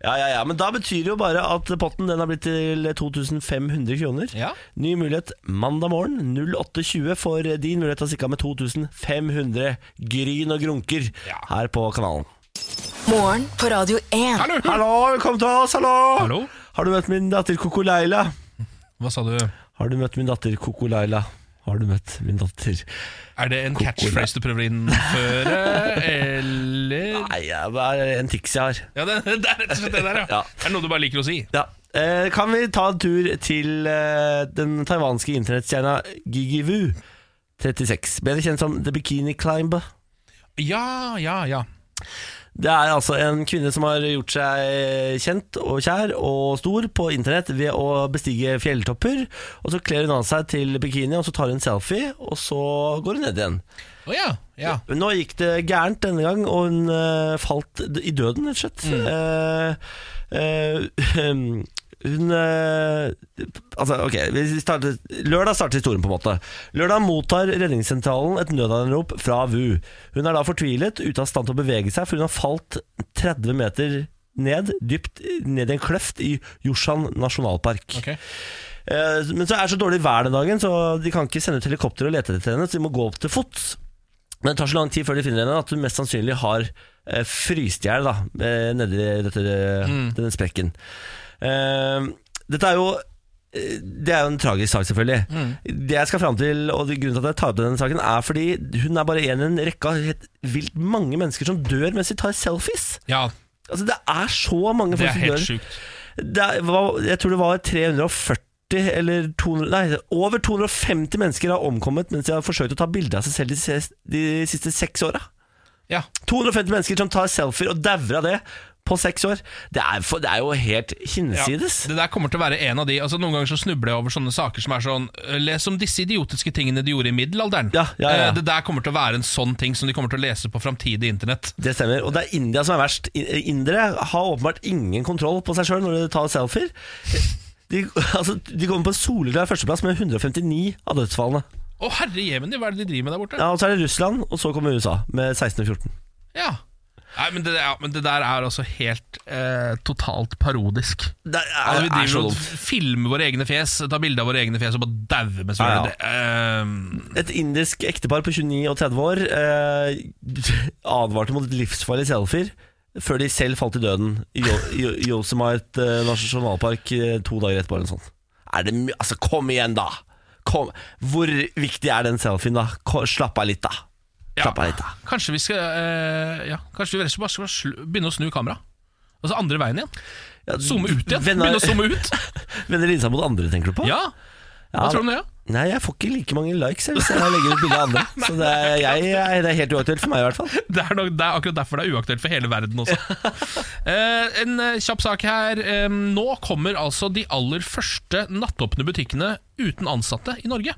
Speaker 1: Ja, ja, ja, men da betyr det jo bare at potten den har blitt til 2500 kroner.
Speaker 2: Ja.
Speaker 1: Ny mulighet mandag morgen 08.20 for din mulighet til å stikke av med 2500 gryn og grunker her på kanalen.
Speaker 4: Morgen på Radio 1.
Speaker 1: Hallo, velkommen til oss, hallo!
Speaker 2: Hallo?
Speaker 1: Har du møtt min datter Koko Leila?
Speaker 2: Hva sa du?
Speaker 1: Har du møtt min datter Koko Leila? Har du møtt min datter?
Speaker 2: Er det en catchphrase du prøver å innføre, eller
Speaker 1: Nei, det er en tics jeg har.
Speaker 2: Ja, det, det er rett og slett det der, ja.
Speaker 1: Ja.
Speaker 2: Det er noe du bare liker å si.
Speaker 1: Ja. Eh, kan vi ta en tur til eh, den taiwanske internettstjerna Gigivu 36, bedre kjent som The Bikini Climber.
Speaker 2: Ja, ja, ja.
Speaker 1: Det er altså en kvinne som har gjort seg eh, kjent og kjær og stor på internett ved å bestige fjelltopper. Og så kler hun av seg til bikini, og så tar hun en selfie, og så går hun ned igjen.
Speaker 2: Å ja. ja.
Speaker 1: Men Nå gikk det gærent denne gang, og hun eh, falt d- i døden, rett og slett. Eh, eh, hun eh, Altså, ok, vi starter, lørdag starter historien, på en måte. Lørdag mottar redningssentralen et nødanrop fra VU. Hun er da fortvilet, ute av stand til å bevege seg, for hun har falt 30 meter ned, dypt ned i en kløft i Joshan nasjonalpark.
Speaker 2: Ok.
Speaker 1: Eh, Men så er det så dårlig vær den dagen, så de kan ikke sende ut helikopter og lete etter henne, så de må gå opp til fots. Men det tar så lang tid før de finner henne at hun mest sannsynlig har eh, fryst i hjel da, eh, nedi dette,
Speaker 2: Mm.
Speaker 1: denne sprekken. Eh, dette er jo eh, det er jo en tragisk sak, selvfølgelig.
Speaker 2: Mm.
Speaker 1: Det jeg skal fram til, og det- Grunnen til at jeg tar opp denne saken, er fordi hun er bare en i en rekke av helt vilt mange mennesker som dør mens de tar selfies.
Speaker 2: Ja,
Speaker 1: Altså Det er så mange
Speaker 2: det
Speaker 1: folk
Speaker 2: er
Speaker 1: som dør.
Speaker 2: helt sjukt.
Speaker 1: Det er- var, jeg tror det var 340 eller 200, nei, over 250 mennesker har omkommet mens de har forsøkt å ta bilde av seg selv de, ses- de siste seks åra.
Speaker 2: Ja.
Speaker 1: 250 mennesker som tar selfier og dauer av det på seks år. Det er, for, det er jo helt
Speaker 2: Ja,
Speaker 1: hinsides.
Speaker 2: Det der kommer til å være en av de altså Noen ganger så snubler jeg over sånne saker som er sånn øh, Les om disse idiotiske tingene de gjorde i middelalderen.
Speaker 1: Ja, ja, ja.
Speaker 2: Eh, Det der kommer til å være en sånn ting som de kommer til å lese på framtidig internett.
Speaker 1: Det stemmer. Og det er India som er verst. I- eh, Indere har åpenbart ingen kontroll på seg sjøl når de tar selfier. De, altså, de kommer på en soleklar førsteplass med 159 av dødsfallene.
Speaker 2: Å herre jemini, hva er det de driver med der borte?
Speaker 1: Ja, og så er det Russland, og så kommer USA med 16 og 14.
Speaker 2: Ja. Nei, men det, ja, men det der er altså helt eh, totalt parodisk.
Speaker 1: Det er,
Speaker 2: Ja, vi
Speaker 1: er så
Speaker 2: driver og
Speaker 1: dumt.
Speaker 2: filmer våre egne fjes, tar bilde av våre egne fjes og bare dauer mens vi
Speaker 1: Ja,
Speaker 2: gjør det. Eh,
Speaker 1: Et indisk ektepar på 29 og 30 år eh, advarte mot livsfarlige selfier før de selv falt i døden i Jo- Jo- Yosemite eh, nasjonalpark eh, to dager etterpå. eller noe sånt. Er det mye Altså, kom igjen, da! Kom. Hvor viktig er den selfien, da? Ko- Slapp av litt, da.
Speaker 2: Ja.
Speaker 1: Slapp av litt, da.
Speaker 2: kanskje vi skal eh, Ja, kanskje vi rett og slett bare skal slu- begynne å snu kameraet. Altså andre veien igjen.
Speaker 1: Ja,
Speaker 2: Zoome ut igjen.
Speaker 1: Vender,
Speaker 2: Begynne å zoome ut.
Speaker 1: vender linsa mot andre, tenker du på?
Speaker 2: Ja, Hva tror du om det? Ja?
Speaker 1: Nei, jeg får ikke like mange likes jeg, hvis jeg legger ut bilde av andre. Så det er, jeg, jeg, det er helt uaktuelt for meg, i hvert fall.
Speaker 2: Det er, nok, det er akkurat derfor det er uaktuelt for hele verden også. Eh, en eh, kjapp sak her. Eh, nå kommer altså de aller første nattåpne butikkene uten ansatte i Norge.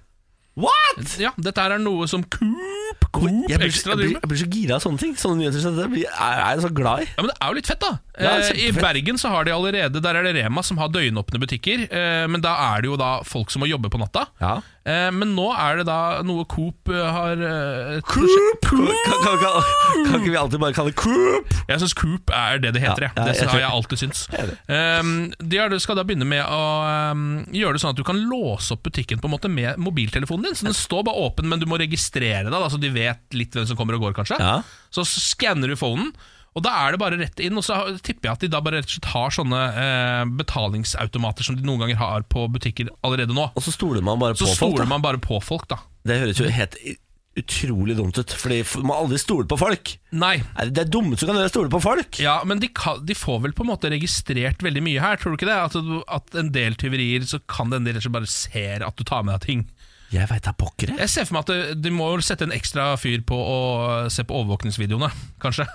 Speaker 1: What?!
Speaker 2: Ja, Dette her er noe som Coop, Coop
Speaker 1: Jeg blir,
Speaker 2: Extra
Speaker 1: jeg,
Speaker 2: driver
Speaker 1: blir,
Speaker 2: med.
Speaker 1: jeg blir så gira av sånne ting. Sånne nyheter som dette blir, er, er jeg så glad i.
Speaker 2: Ja, men Det er jo litt fett, da.
Speaker 1: Ja, det er
Speaker 2: Eh, I
Speaker 1: kjempefett.
Speaker 2: Bergen så har de allerede Der er det Rema som har døgnåpne butikker. eh, Men da er det jo da folk som må jobbe på natta.
Speaker 1: Ja.
Speaker 2: Eh, Men nå er det da noe Coop eh, har eh, et prosjekt-
Speaker 1: Coop! Kan, kan, kan, kan ikke vi alltid bare kalle det Coop?
Speaker 2: Jeg syns Coop er det det heter,
Speaker 1: Ja,
Speaker 2: jeg.
Speaker 1: ja,
Speaker 2: Det
Speaker 1: jeg
Speaker 2: har
Speaker 1: tror-
Speaker 2: jeg alltid syntes. Um, de har- skal da begynne med å um, gjøre det sånn at du kan låse opp butikken på en måte med mobiltelefonen din. Så Den står bare åpen, men du må registrere deg, da, så de vet litt hvem som kommer og går, kanskje.
Speaker 1: Ja.
Speaker 2: Så skanner du phonen. Og Da er det bare rett inn, og så har- tipper jeg at de da bare rett og slett har sånne eh, betalingsautomater som de noen ganger har på butikker allerede nå.
Speaker 1: Og så stoler man bare
Speaker 2: Så
Speaker 1: på folk. Da.
Speaker 2: stoler man bare på folk, da.
Speaker 1: Det høres jo helt i- utrolig dumt ut, Fordi f- man aldri stoler på folk.
Speaker 2: Nei,
Speaker 1: Er det det dummeste du kan gjøre, er å stole på folk.
Speaker 2: Ja, men de, kan, de får vel på en måte registrert veldig mye her, tror du ikke det? At, du, at en del tyverier, så kan det en del som bare ser at du tar med deg ting.
Speaker 1: Jeg veit det er pokker, jeg.
Speaker 2: Jeg ser for meg at det- de må jo sette en ekstra fyr på å se på overvåkningsvideoene, kanskje.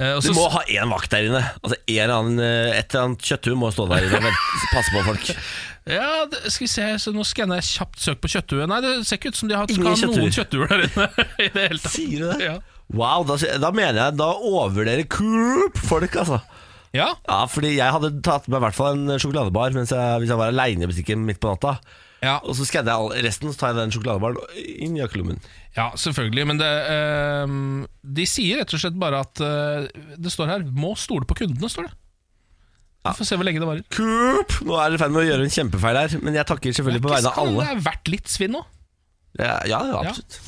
Speaker 2: Eh, og
Speaker 1: Du
Speaker 2: så-
Speaker 1: må ha én vakt der inne. Altså en eller annen, eh, Et eller annet kjøtthue må stå der inne og vente- passe på folk.
Speaker 2: Ja, det, skal vi se, så nå skanner jeg kjapt søk på kjøtthuet. Nei, det ser ikke ut som de har
Speaker 1: Ingen
Speaker 2: skal ha noen kjøtthuer der inne i det hele tatt.
Speaker 1: Sier du det?
Speaker 2: Ja.
Speaker 1: Wow, da, da mener jeg Da overvurderer Coop folk, altså.
Speaker 2: Ja,
Speaker 1: Ja, fordi jeg hadde tatt med i hvert fall en sjokoladebar mens jeg, hvis jeg var aleine i butikken midt på natta.
Speaker 2: ja.
Speaker 1: Og så skanner jeg all- resten, så tar jeg den sjokoladebaren inn i jakkelommen.
Speaker 2: Ja, selvfølgelig, men det, ehm, eh, de sier rett og slett bare at eh, Det står her 'må stole på kundene', står det. Vi får se hvor lenge det varer.
Speaker 1: Coop! Nå er dere i ferd med å gjøre en kjempefeil her, men jeg takker selvfølgelig på vegne av
Speaker 2: Kan
Speaker 1: alle.
Speaker 2: Det er verdt litt svinn nå.
Speaker 1: Ja, ja, absolutt.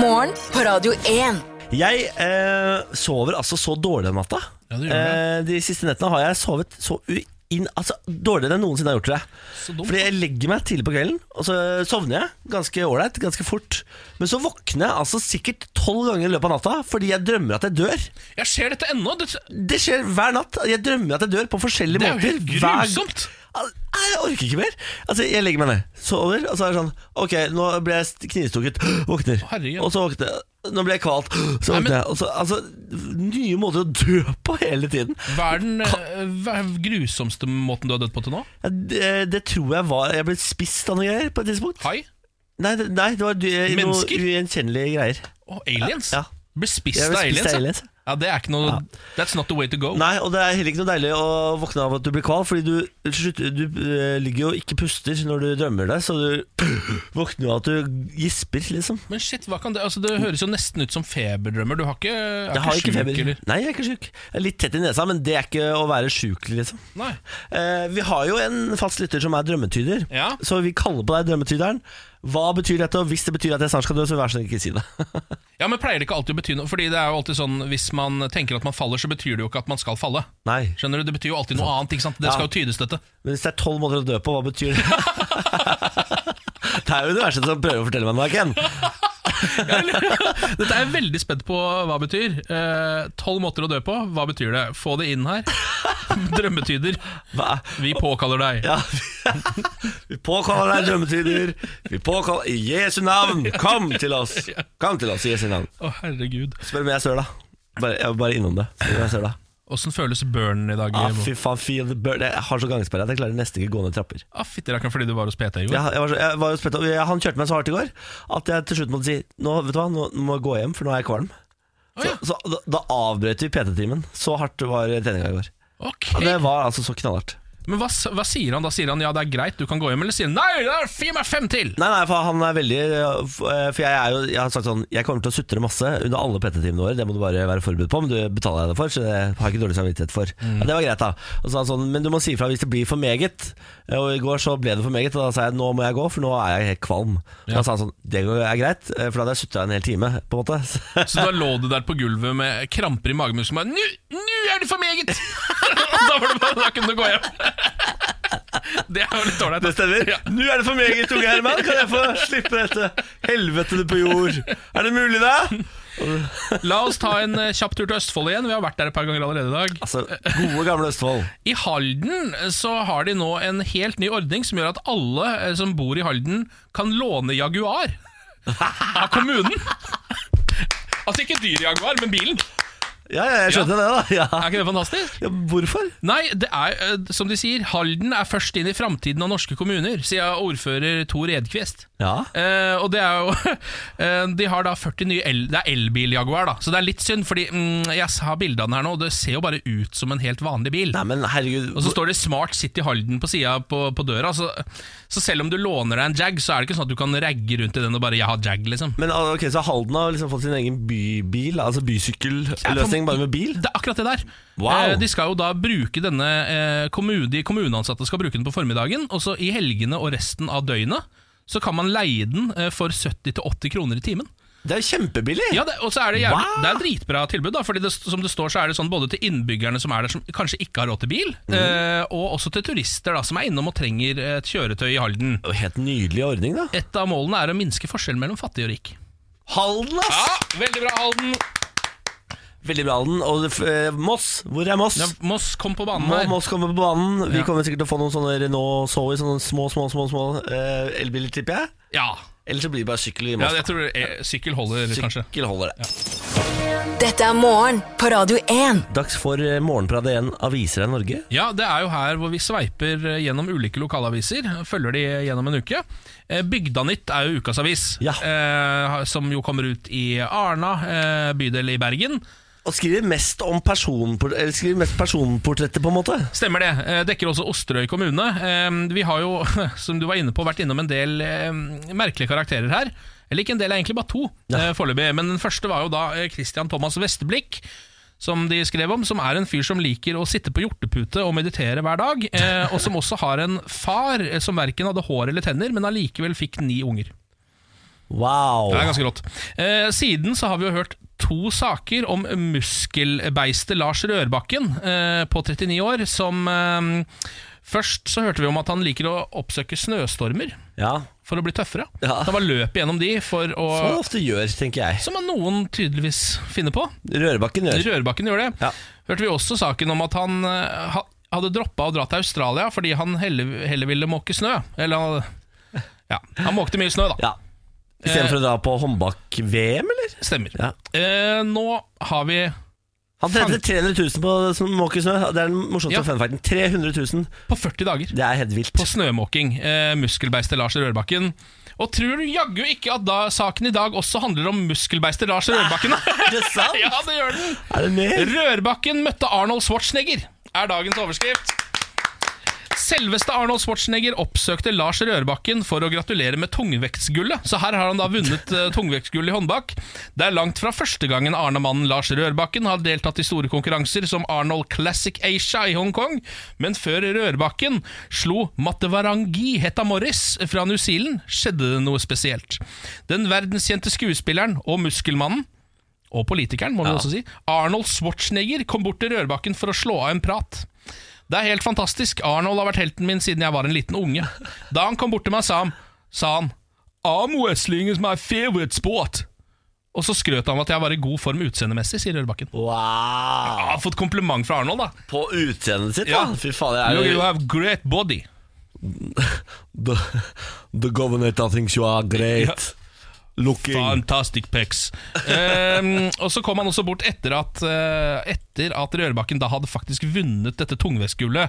Speaker 4: Morgen på Radio 1.
Speaker 1: Jeg eh, sover altså så dårlig om natta.
Speaker 2: Ja, du gjør
Speaker 1: eh, de siste nettene har jeg sovet så u inn, altså, dårligere enn jeg noensinne har gjort det.
Speaker 2: Så dumt.
Speaker 1: Fordi jeg legger meg tidlig på kvelden, og så sovner jeg ganske ålreit, ganske fort. Men så våkner jeg altså sikkert tolv ganger i løpet av natta fordi jeg drømmer at jeg dør.
Speaker 2: Jeg ser dette ennå. Det,
Speaker 1: Det skjer hver natt. Jeg drømmer at jeg dør på forskjellige
Speaker 2: det er jo
Speaker 1: måter.
Speaker 2: helt
Speaker 1: hver-
Speaker 2: grusomt.
Speaker 1: Al- Nei, jeg orker ikke mer. Altså, Jeg legger meg ned, sover, og så er det sånn Ok, nå ble jeg st- knivstukket. Våkner.
Speaker 2: Herregud.
Speaker 1: Og så våkner jeg. Nå ble jeg kvalt. Så
Speaker 2: Nei,
Speaker 1: våkner
Speaker 2: men-
Speaker 1: jeg. Og så, altså, nye måter å dø på hele tiden.
Speaker 2: Hva er den eh, hva er den grusomste måten du har dødd på til nå?
Speaker 1: Ja, Det, det tror jeg var Jeg ble spist av noen greier på et tidspunkt.
Speaker 2: Hai?
Speaker 1: Nei, det, nei, det var du- noen
Speaker 2: Mennesker?
Speaker 1: ugjenkjennelige greier.
Speaker 2: Og aliens?
Speaker 1: Ja.
Speaker 2: Ble spist
Speaker 1: Jeg
Speaker 2: av
Speaker 1: ble spist
Speaker 2: aliens?
Speaker 1: av
Speaker 2: ja.
Speaker 1: aliens.
Speaker 2: Ja, det er ikke noe That's not the way to go.
Speaker 1: Nei, og det er heller ikke noe deilig å våkne av at du blir kval, fordi du, slutt- du eh, ligger jo og ikke puster når du drømmer deg, så du våkner jo av at du gisper, liksom.
Speaker 2: Men shit, hva kan det altså, Det høres jo nesten ut som feberdrømmer. Du har ikke, er
Speaker 1: Jeg har ikke
Speaker 2: sjuk,
Speaker 1: feber.
Speaker 2: eller?
Speaker 1: Nei, jeg er ikke sjuk. Jeg er litt tett i nesa, men det er ikke å være sjuk, liksom.
Speaker 2: Nei.
Speaker 1: Eh, vi har jo en fast lytter som er drømmetyder,
Speaker 2: Ja.
Speaker 1: så vi kaller på deg drømmetyderen. Hva betyr dette, og hvis det betyr at jeg snart skal dø, så vær så snill ikke si det.
Speaker 2: Ja, men Pleier det ikke alltid å bety noe? Fordi det er jo alltid sånn Hvis man tenker at man faller, så betyr det jo ikke at man skal falle.
Speaker 1: Nei.
Speaker 2: Skjønner du, Det betyr jo alltid noe annet. ikke sant? Det skal jo tydes, dette.
Speaker 1: Men hvis det er tolv måter å dø på, hva betyr det? det er jo universet som prøver å fortelle meg noe, Ken.
Speaker 2: Dette er jeg veldig spent på hva det betyr. Eh, Tolv måter å dø på, hva betyr det? Få det inn her. Drømmetyder.
Speaker 1: Hva?
Speaker 2: Vi påkaller deg.
Speaker 1: Ja. Vi påkaller deg drømmetyder. Vi påkaller I Jesu navn, kom til oss! Kom til oss i Jesu navn.
Speaker 2: Å, herregud.
Speaker 1: Spør om jeg søla. Bare, jeg var bare innom det. Spør om jeg søla.
Speaker 2: Åssen føles burnen i dag?
Speaker 1: Ah,
Speaker 2: Ivo?
Speaker 1: fy faen, feel the burn. Jeg har så gangsperre at jeg klarer nesten ikke gå ned trapper.
Speaker 2: Ah, Fytti rakkeren, fordi du var hos PT i går.
Speaker 1: Jeg, jeg var så, jeg var jo spett, jeg, han kjørte meg så hardt i går at jeg til slutt måtte si Nå vet du hva, nå må jeg gå hjem, for nå er jeg kvalm.
Speaker 2: Å, ja.
Speaker 1: Så da, da avbrøt vi PT-timen. Så hardt var treninga i går.
Speaker 2: Ok.
Speaker 1: Ja, Det var altså så knallhardt.
Speaker 2: Men hva, s- hva sier han da? Sier han ja, det er greit, du kan gå hjem? Eller sier han nei, det er gi meg fem til!
Speaker 1: Nei, nei, for han er veldig eh, For jeg, er jo, jeg har sagt sånn Jeg kommer til å sutre masse under alle PT-timene våre Det må du bare være forberedt på Men du betaler jeg det for Så det har jeg ikke dårlig samvittighet for ja, Det var greit da Og så sa han sånn Men du må si fra hvis det blir for meget Eh, Og i går så ble det for meget Og da sa jeg nå må jeg gå For nå er jeg helt kvalm Og da sa han sånn Det går- er greit eh, For da hadde jeg suttet en hel time På en måte Så-
Speaker 2: Så da lå du der på gulvet med kramper i magemusklene og bare «Nu- Nå er det for meget! Og da var det bare Da kunne du gå hjem. Det er jo litt ålreit. da. Ja.
Speaker 1: Nå er det for meget unge Herman Kan jeg få slippe dette Helvete du på jord Er det mulig da?
Speaker 2: La oss ta en eh, kjapp tur til Østfold igjen. Vi har vært der et par ganger allerede i dag.
Speaker 1: Altså gode gamle Østfold
Speaker 2: I Halden eh, så har de nå en helt ny ordning som gjør at alle eh, som bor i Halden, kan låne Jaguar av kommunen. Altså ikke dyr Jaguar, men bilen.
Speaker 1: Ja, ja, jeg skjønte det da ja.
Speaker 2: Er ikke det fantastisk?
Speaker 1: ja, hvorfor?
Speaker 2: Nei, det er, eh, som de sier, Halden er først inn i framtiden av norske kommuner, sier ordfører Tor Edquist.
Speaker 1: Ja
Speaker 2: Eh, og det er jo eh, De har da 40 nye el, Det er elbil-Jaguar, da. Så det er litt synd, fordi mm, jeg har bildene her nå, og det ser jo bare ut som en helt vanlig bil.
Speaker 1: Nei, men herregud
Speaker 2: Og så står det 'Smart City Halden' på sida på, på døra. Så, så selv om du låner deg en Jag, så er det ikke sånn at du kan ragge rundt i den og bare 'jeg har Jag', liksom.
Speaker 1: Men al- ok, så Halden har liksom fått sin egen bybil, altså bysykkelløsning bare med bil?
Speaker 2: Det er akkurat det der.
Speaker 1: Wow.
Speaker 2: Eh, De skal jo da bruke denne eh, kommun- De kommuneansatte skal bruke den på formiddagen, og så i helgene og resten av døgnet så kan man leie den eh, for 70-80 kroner i timen.
Speaker 1: Det er jo kjempebillig!
Speaker 2: Ja, det, og så er Det jævlig,
Speaker 1: Wow.
Speaker 2: Det er et dritbra tilbud, da Fordi det, som det står så er det sånn både til innbyggerne som er der som kanskje ikke har råd til bil,
Speaker 1: Mm.
Speaker 2: eh, og også til turister da som er innom og trenger et kjøretøy i Halden.
Speaker 1: Det er jo Helt nydelig ordning, da.
Speaker 2: Et av målene er å minske forskjellen mellom fattig og rik.
Speaker 1: Halden, ass!
Speaker 2: Ja, Veldig bra, Halden!
Speaker 1: Veldig bra, Halden. Og det f- eh, Moss, hvor er Moss?
Speaker 2: Ja, Moss, kom på banen
Speaker 1: Må
Speaker 2: her.
Speaker 1: Moss komme på banen. Vi
Speaker 2: Ja.
Speaker 1: kommer sikkert til å få noen sånne Renault Zoe, sånne små, små, små, små eh, elbiler, tipper jeg.
Speaker 2: Ja,
Speaker 1: Eller så blir det bare sykkel i
Speaker 2: ja
Speaker 1: Moss.
Speaker 2: jeg tror eh, sykkel holder, kanskje.
Speaker 1: sykkel holder det.
Speaker 4: Dette er morgen på Radio 1.
Speaker 1: Dags for eh, morgenprat igjen. Aviser er Norge.
Speaker 2: Ja, det er jo her hvor vi sveiper eh, gjennom ulike lokalaviser. Følger de gjennom en uke. Eh, Bygdanytt er jo ukas avis,
Speaker 1: Ja.
Speaker 2: eh, som jo kommer ut i Arna, eh, bydel i Bergen.
Speaker 1: Og skriver mest om personport- eller skriver mest personportretter, på en måte.
Speaker 2: Stemmer det. Eh, Dekker også Osterøy kommune. Eh, Vi har jo, som du var inne på, vært innom en del eh, merkelige karakterer her. Eller ikke en del, egentlig bare to eh, foreløpig. Men den første var jo da eh, Christian Thomas Vesteblikk. som de skrev om, som er en fyr som liker å sitte på hjortepute og meditere hver dag, eh, og som også har en far eh, som verken hadde hår eller tenner, men allikevel fikk ni unger.
Speaker 1: Wow.
Speaker 2: Det er ganske rått. Eh, siden så har vi jo hørt to saker om muskelbeistet Lars Rørbakken eh, på 39 år, som eh, Først så hørte vi om at han liker å oppsøke snøstormer
Speaker 1: Ja.
Speaker 2: for å bli tøffere.
Speaker 1: Ja.
Speaker 2: Så han var løpet gjennom de for å
Speaker 1: Som man ofte gjør, tenker jeg.
Speaker 2: Som noen tydeligvis finner på.
Speaker 1: Rørebakken gjør.
Speaker 2: Rørbakken gjør det.
Speaker 1: Ja.
Speaker 2: Hørte vi også saken om at han eh, ha- hadde droppa å dra til Australia fordi han heller, heller ville måke snø. Eller han- ja, han måkte mye snø, da.
Speaker 1: Ja. Istedenfor å dra på håndbak-VM, eller?
Speaker 2: Stemmer.
Speaker 1: Ja.
Speaker 2: Eh, nå har vi
Speaker 1: Han tjente 300 000 på som måkesnø. Det er den morsomste
Speaker 2: Ja.
Speaker 1: ja. funfacten. 300 000,
Speaker 2: på 40 dager
Speaker 1: det er helt vilt.
Speaker 2: på snømåking. Eh, muskelbeistet Lars Rørbakken. Og tror du jaggu ikke at da, saken i dag også handler om muskelbeistet Lars Rørbakken?
Speaker 1: Er det sant?
Speaker 2: ja, det gjør den!
Speaker 1: Er det mer?
Speaker 2: Rørbakken møtte Arnold Schwarzenegger, er dagens overskrift. Selveste Arnold Schwarzenegger oppsøkte Lars Rørbakken for å gratulere med tungvektsgullet. Så her har han da vunnet eh, tungvektsgull i håndbak. Det er langt fra første gangen Arne-mannen Lars Rørbakken har deltatt i store konkurranser som Arnold Classic Asia i Hongkong, men før Rørbakken slo Matevarangi Hetta Morris fra New Zealand, skjedde det noe spesielt. Den verdenskjente skuespilleren og muskelmannen og politikeren, må vi også si. Arnold Schwarzenegger kom bort til Rørbakken for å slå av en prat. Det er helt fantastisk. Arnold har vært helten min siden jeg var en liten unge. Da han kom bort til meg, sa han, sa han Armwrestling is my favorite sport. Og så skrøt han av at jeg var i god form utseendemessig, sier Rørbakken. Jeg
Speaker 1: Wow.
Speaker 2: har fått kompliment fra Arnold, da.
Speaker 1: På utseendet sitt,
Speaker 2: Ja.
Speaker 1: da. Fy faen,
Speaker 2: You,
Speaker 1: jeg er
Speaker 2: you
Speaker 1: jo
Speaker 2: have great body.
Speaker 1: The, the governor thinks you are great. Looking.
Speaker 2: Fantastic pecs. Ehm, og så kom han også bort etter at, eh, etter at Rørbakken da hadde faktisk vunnet dette tungvektsgullet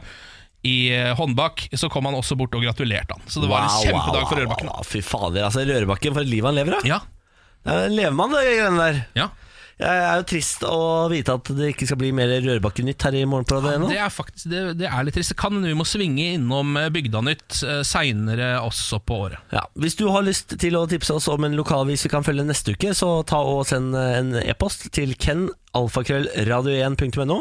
Speaker 2: i eh, håndbak. Så kom han også bort og gratulerte han. Så det var en kjempedag for Rørbakken.
Speaker 1: Wow, wow, fy fader, altså Rørbakken, for et liv han lever, da.
Speaker 2: Ja,
Speaker 1: Det er en levemann, det greiene der.
Speaker 2: ja.
Speaker 1: Jeg er jo trist å vite at det ikke skal bli mer Rørbakken-nytt her i Morgenbladet ennå.
Speaker 2: Det er faktisk det, det er litt trist. Det kan hende vi må svinge innom eh, Bygdanytt eh, seinere også på året.
Speaker 1: Ja. Hvis du har lyst til å tipse oss om en lokalvis vi kan følge neste uke, så ta og send eh, en e-post til kenalfakrøllradio1.no.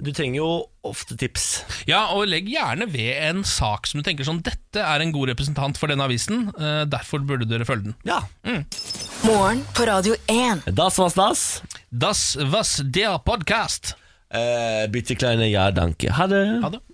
Speaker 1: Du trenger jo ofte tips.
Speaker 2: Ja, og legg gjerne ved en sak som du tenker sånn Dette er en god representant for denne avisen, eh, derfor burde dere følge den.
Speaker 1: Ja.
Speaker 4: Morgen på Radio 1.
Speaker 1: Das was das.
Speaker 2: Das was der podcast.
Speaker 1: Eh, bitte kleine ja, danke. Ha det.
Speaker 2: Ha det.